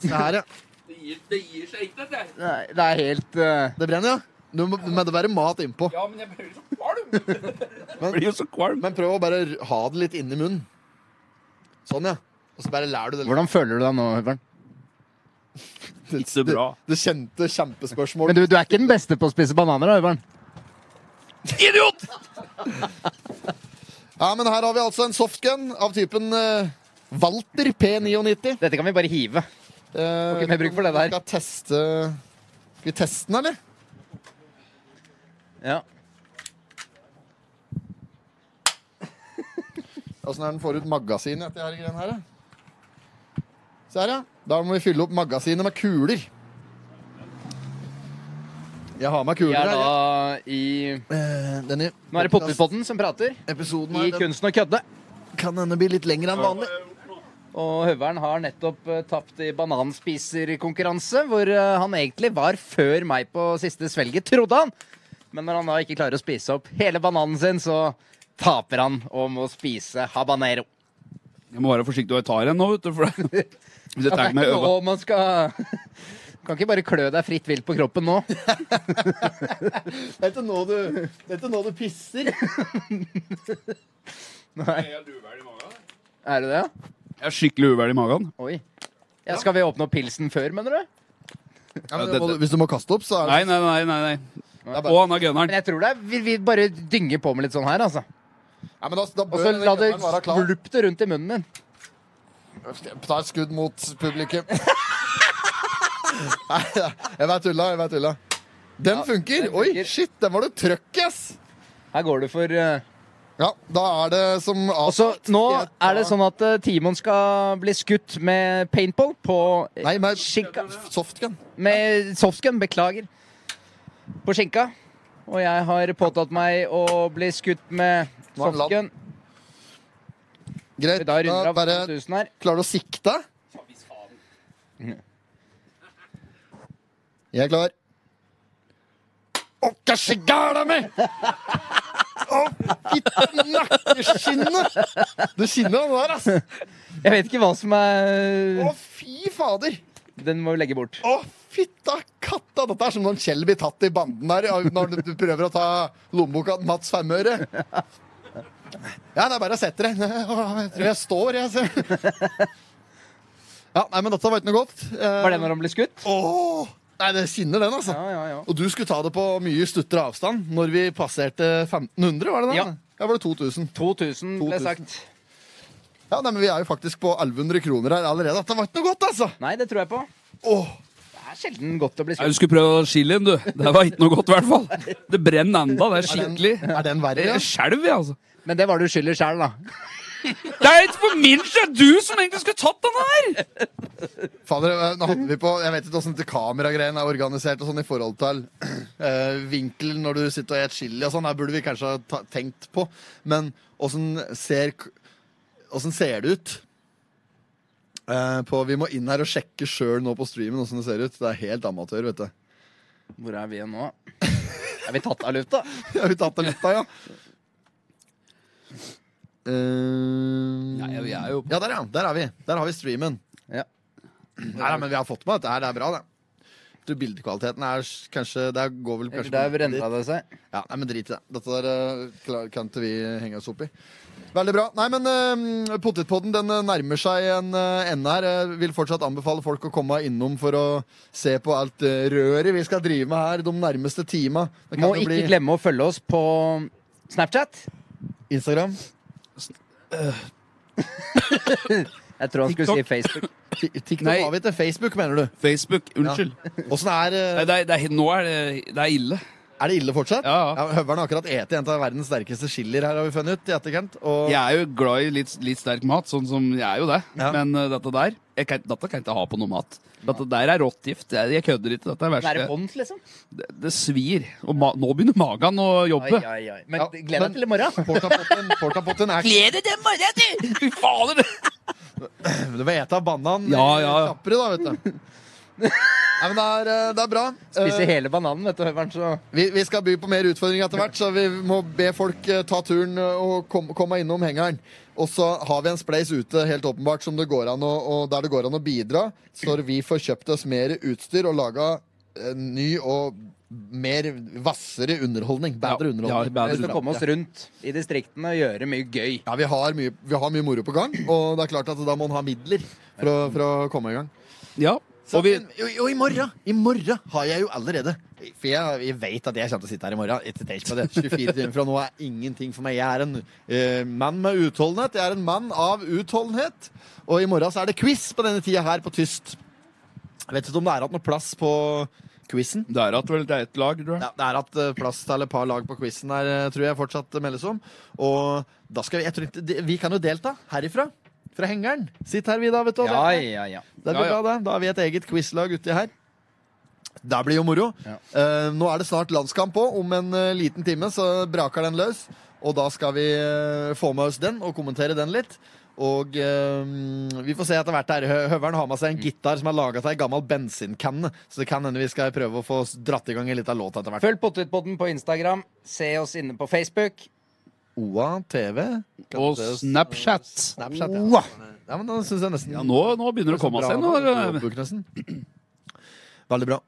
A: Se her, ja.
D: Det gir, det gir seg ikke, dette.
B: Nei, det er helt eh,
A: Det brenner, ja. Du må, men det være mat innpå.
D: Ja, men jeg blir så kvalm.
C: Blir jo så kvalm.
A: Men prøv å bare r- ha det litt inni munnen. Sånn, ja. Og så bare lærer du det.
B: Hvordan føler du deg nå, Høveren?
C: Ikke så bra.
A: Det kjente kjempespørsmålet.
B: Men du, du er ikke den beste på å spise bananer, da, Høveren?
C: Idiot!
A: Ja, men her har vi altså en softgun av typen eh, Walter P99.
B: Dette kan vi bare hive.
A: Eh,
B: Ok, mer bruk for det der.
A: Vi skal teste Skal vi teste den, eller?
B: Ja.
A: Åssen er den får ut magasinet etter de her greiene her? da? Se her, ja. Da må vi fylle opp magasinet med kuler. Jeg har med
B: Vi
A: kuler
B: er
A: her.
B: da
A: ja.
B: i
A: Eh, Denne
B: Nå er det Pottipotten som prater.
A: episoden
B: I
A: her, den
B: Kunsten å kødde.
A: kan hende bli litt lengre enn vanlig.
B: Og Høveren har nettopp eh, tapt i bananspiserkonkurranse, hvor eh, han egentlig var før meg på siste svelget, trodde han. Men når han da ikke klarer å spise opp hele bananen sin, så taper han og må spise habanero.
C: Jeg må være forsiktig hva jeg tar en nå, vet du. For det- hvis jeg
B: Det er
C: tar
B: ikke
C: meg
B: noe
C: øva.
B: man skal Kan ikke bare klø deg fritt vilt på kroppen nå.
A: Det er ikke nå du, det er ikke nå du pisser.
B: Er det det? ja?
C: Jeg er skikkelig uvel i magen.
B: Oi. Ja, skal vi åpne opp pilsen før, mener du?
A: Ja, men
C: Ja, det-
A: må du- hvis du må kaste opp, så er det
C: Nei, nei, nei. nei, nei.
A: det er
C: Og
A: bare,
C: han er gunneren.
B: Men jeg tror det er Vi, vi bare dynger på med litt sånn her, altså.
A: ja, men da, da bør
B: Og så
A: denne
B: la det
A: gunneren være klar.
B: skvulpe rundt i munnen min.
A: Ta et skudd mot publikum. Nei, jeg bare tulla, jeg bare tulla. Den funker!
B: den
A: Oi,
B: funker.
A: shit, den var det trøkk i, ass!
B: Her går du for eh,
A: Ja, da er det som
B: Og så
A: avtalt.
B: nå
A: Skal jeg ta-
B: er det sånn at eh, Timon skal bli skutt med paintball på eh,
A: Nei, med
B: skinka.
A: softgun.
B: Med softgun, beklager. På skinka. Og jeg har påtatt meg å bli skutt med
A: Nå er den ladd.
B: softgun.
A: Greit.
B: Da runder
A: Da
B: av
A: bare
B: 5000 her.
A: Klarer du å sikte? Jeg er klar. Å, hva skjer gæla mi?! Å, fitte nakkeskinnet! Det skinner jo der, ass.
B: Jeg vet ikke hva som
A: Å,
B: er
A: fy fader!
B: Den må vi legge bort.
A: Å, fitta katta! Dette er som når Kjell blir tatt i banden der av- når du prøver å ta lommeboka til Mats Femøre. Ja, det er bare å sette det. Jeg tror jeg står, jeg. Så. Ja, nei, men dette var ikke noe godt. Eh,
B: Var det når han ble skutt?
A: Åh! Nei, det skinner, den, altså.
B: Ja, ja, ja.
A: Og du skulle ta det på mye stuttere avstand når vi passerte 1500, var det det?
B: Ja.
A: Ja, var det 2000?
B: 2000 ble
A: 2000.
B: sagt.
A: Ja, nei, men vi er jo faktisk på 1100 kroner her allerede. Dette var ikke noe godt, altså!
B: Nei, det tror jeg på.
A: Åh!
B: Det er sjelden godt å
C: Nei,
B: bli
C: Du
B: skutt.
C: skulle prøvd chilien, du. Det var ikke noe godt, i hvert fall. Det brenner enda. Det er
A: Er den,
C: skikkelig.
A: er den verre?
C: Jeg
A: Ja?
C: skjelver, jeg, altså.
B: Men det var du skyldig sjæl, da.
C: Det er ikke for min skyld! Det er Du som egentlig skulle tatt denne her!
A: Fader, eh, nå hadde vi på Jeg vet ikke åssen kameragreiene er organisert og sånn i forhold til eh, vinkel når du sitter og spiser chili og sånn. Her burde vi kanskje ha ta, tenkt på. Men åssen ser k- Åssen ser det ut? Eh, på, vi må inn her og sjekke sjøl nå på streamen åssen det ser ut. Det er helt amatør, vet du.
B: Hvor er vi nå? Er vi tatt av lufta?
A: Jeg har jo tatt det litt av, ja. Eh,
C: Nei, vi er jo på
A: ja, der, ja. Der er vi. Der har vi streamen.
B: Ja.
A: Nei, nei, men vi har fått med dette her. Det er bra, det. Du, bildekvaliteten er s- kanskje Det går vel kanskje
B: Der renna det seg.
A: Ja, nei, men drit i det. Dette der eh, klar- kan ikke vi henge oss opp i. Veldig bra. Nei, men uh, Potetpodden den eh, nærmer seg en eh, ende her. Jeg vil fortsatt anbefale folk å komme innom for å se på alt eh, røret vi skal drive med her de nærmeste tima. Det
B: Må
A: jo
B: ikke glemme å følge oss på Snapchat.
A: Instagram,
B: Jeg tror han skulle si Facebook.
A: Ti- TikTok
C: Nei.
A: har vi til Facebook, mener du?
C: Facebook. Unnskyld.
A: Åssen er eh,
C: Nei, det er, det er, nå er det, det er ille.
A: Er det ille fortsatt?
C: Ja, ja.
A: men Høveren har akkurat ete en av verdens sterkeste chilier her, har vi funnet ut i etterkant. Og
C: Jeg er jo glad i litt, litt sterk mat, sånn som jeg er jo det.
A: Ja.
C: Men eh, dette der jeg kan, Dette kan jeg ikke ha på noe mat. Dette der er rått gift. Jeg, jeg kødder ikke. Dette er
B: Det er
C: verste.
B: vondt, liksom.
C: Det, det svir. Og ma nå begynner magen å
B: Ai,
C: jobbe.
B: ai, ai. Men
A: Ja,
B: gled
A: men-
B: deg til i morgen.
A: portapotten, portapotten er
C: Gleder deg til morgenen, du! Fy fader!
A: Du får ete av banan
C: Ja, ja, ja.
A: kjappere, da, vet du. Nei, men det er, eh, det er bra.
B: Spise
A: Eh,
B: hele bananen, vet du, Høveren, så
A: Vi, vi skal by på mer utfordringer etter hvert, så vi må be folk eh, ta turen eh, og kom- komme innom hengeren. Og så har vi en spleis ute helt åpenbart som det går an å, og der det går an å bidra, så vi får kjøpt oss mer utstyr og laga eh, ny og mer vassere underholdning. Bedre
C: Ja,
A: underholdning.
C: bedre
B: vi skal komme
C: underholdning.
B: oss rundt i distriktene og gjøre mye gøy.
A: Ja, vi har, mye, vi har mye moro på gang, og det er klart at da må en ha midler for å, for å komme i gang.
C: Ja.
A: Så,
C: Og vi,
A: men- jo, jo, i morgen I morgen har jeg jo allerede For jeg, jeg vet at jeg kommer til å sitte her i morgen Etter tenk på det 24 timer fra nå er ingenting for meg Jeg er en eh, mann med utholdenhet Jeg er en mann av utholdenhet Og i morgen så er det quiz på denne tida her på Tyst Jeg vet ikke om det er hatt noe plass på quizzen
C: det er at vel det er et lag, tror jeg.
A: ja, det er at eh, plass til et par lag på quizzen der, eh, tror jeg fortsatt eh, meldes om. Og da skal vi, jeg tror ikke, de- vi kan jo delta herifra, fra hengeren. Sitt her vi da, vet du. og
B: Ja,
A: delta.
B: ja, ja.
A: Det blir
C: Ja, ja.
A: bra, det. Da har vi et eget quizlag uti her. Det blir jo moro.
B: Ja.
A: Eh, nå er det snart landskamp òg. Om en eh, liten time så braker den løs. Og da skal vi eh, få med oss den og kommentere den litt. Og eh, vi får se etter hvert. her Hø- Høveren har med seg en gitar som er laga av ei gammel bensinkanne. Så det kan hende vi skal prøve å få s- dratt i gang en liten låt etter hvert.
B: Følg Potetpodden på Instagram. Se oss inne på Facebook.
A: OA TV.
C: Og Snapchat.
A: Snapchat, ja.
B: Oa.
A: ja men da synes jeg nesten
C: Ja, nå, nå begynner det å komme
A: Bra,
C: seg. Nå. eh.
A: Robert Knudsen. eh, Veldig bra.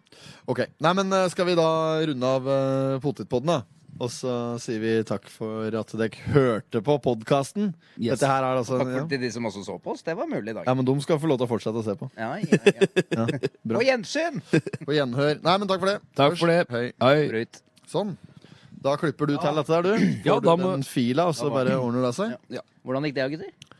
A: Ok, nei, men eh, Skal vi da runde av eh, potetpodden, da? Og så sier vi takk for at dere hørte på podkasten.
C: Yes.
A: Dette her er altså
B: Takk for
A: ja.
B: til de som også så på oss. Det var mulig i dag.
A: ja, men De skal få lov til å fortsette å se på.
B: Ja, ja, ja.
A: bra.
B: På gjensyn!
A: På gjenhør. Nei, men takk for det.
C: Takk for det.
A: Hei.
C: Hei.
B: Brut.
A: Sånn. Da klipper du til dette der, du. Får
C: Ja, da
A: du
C: må-
A: den fila, og så
B: Da var-
A: bare ordner det seg.
B: Hvordan gikk det, gutter?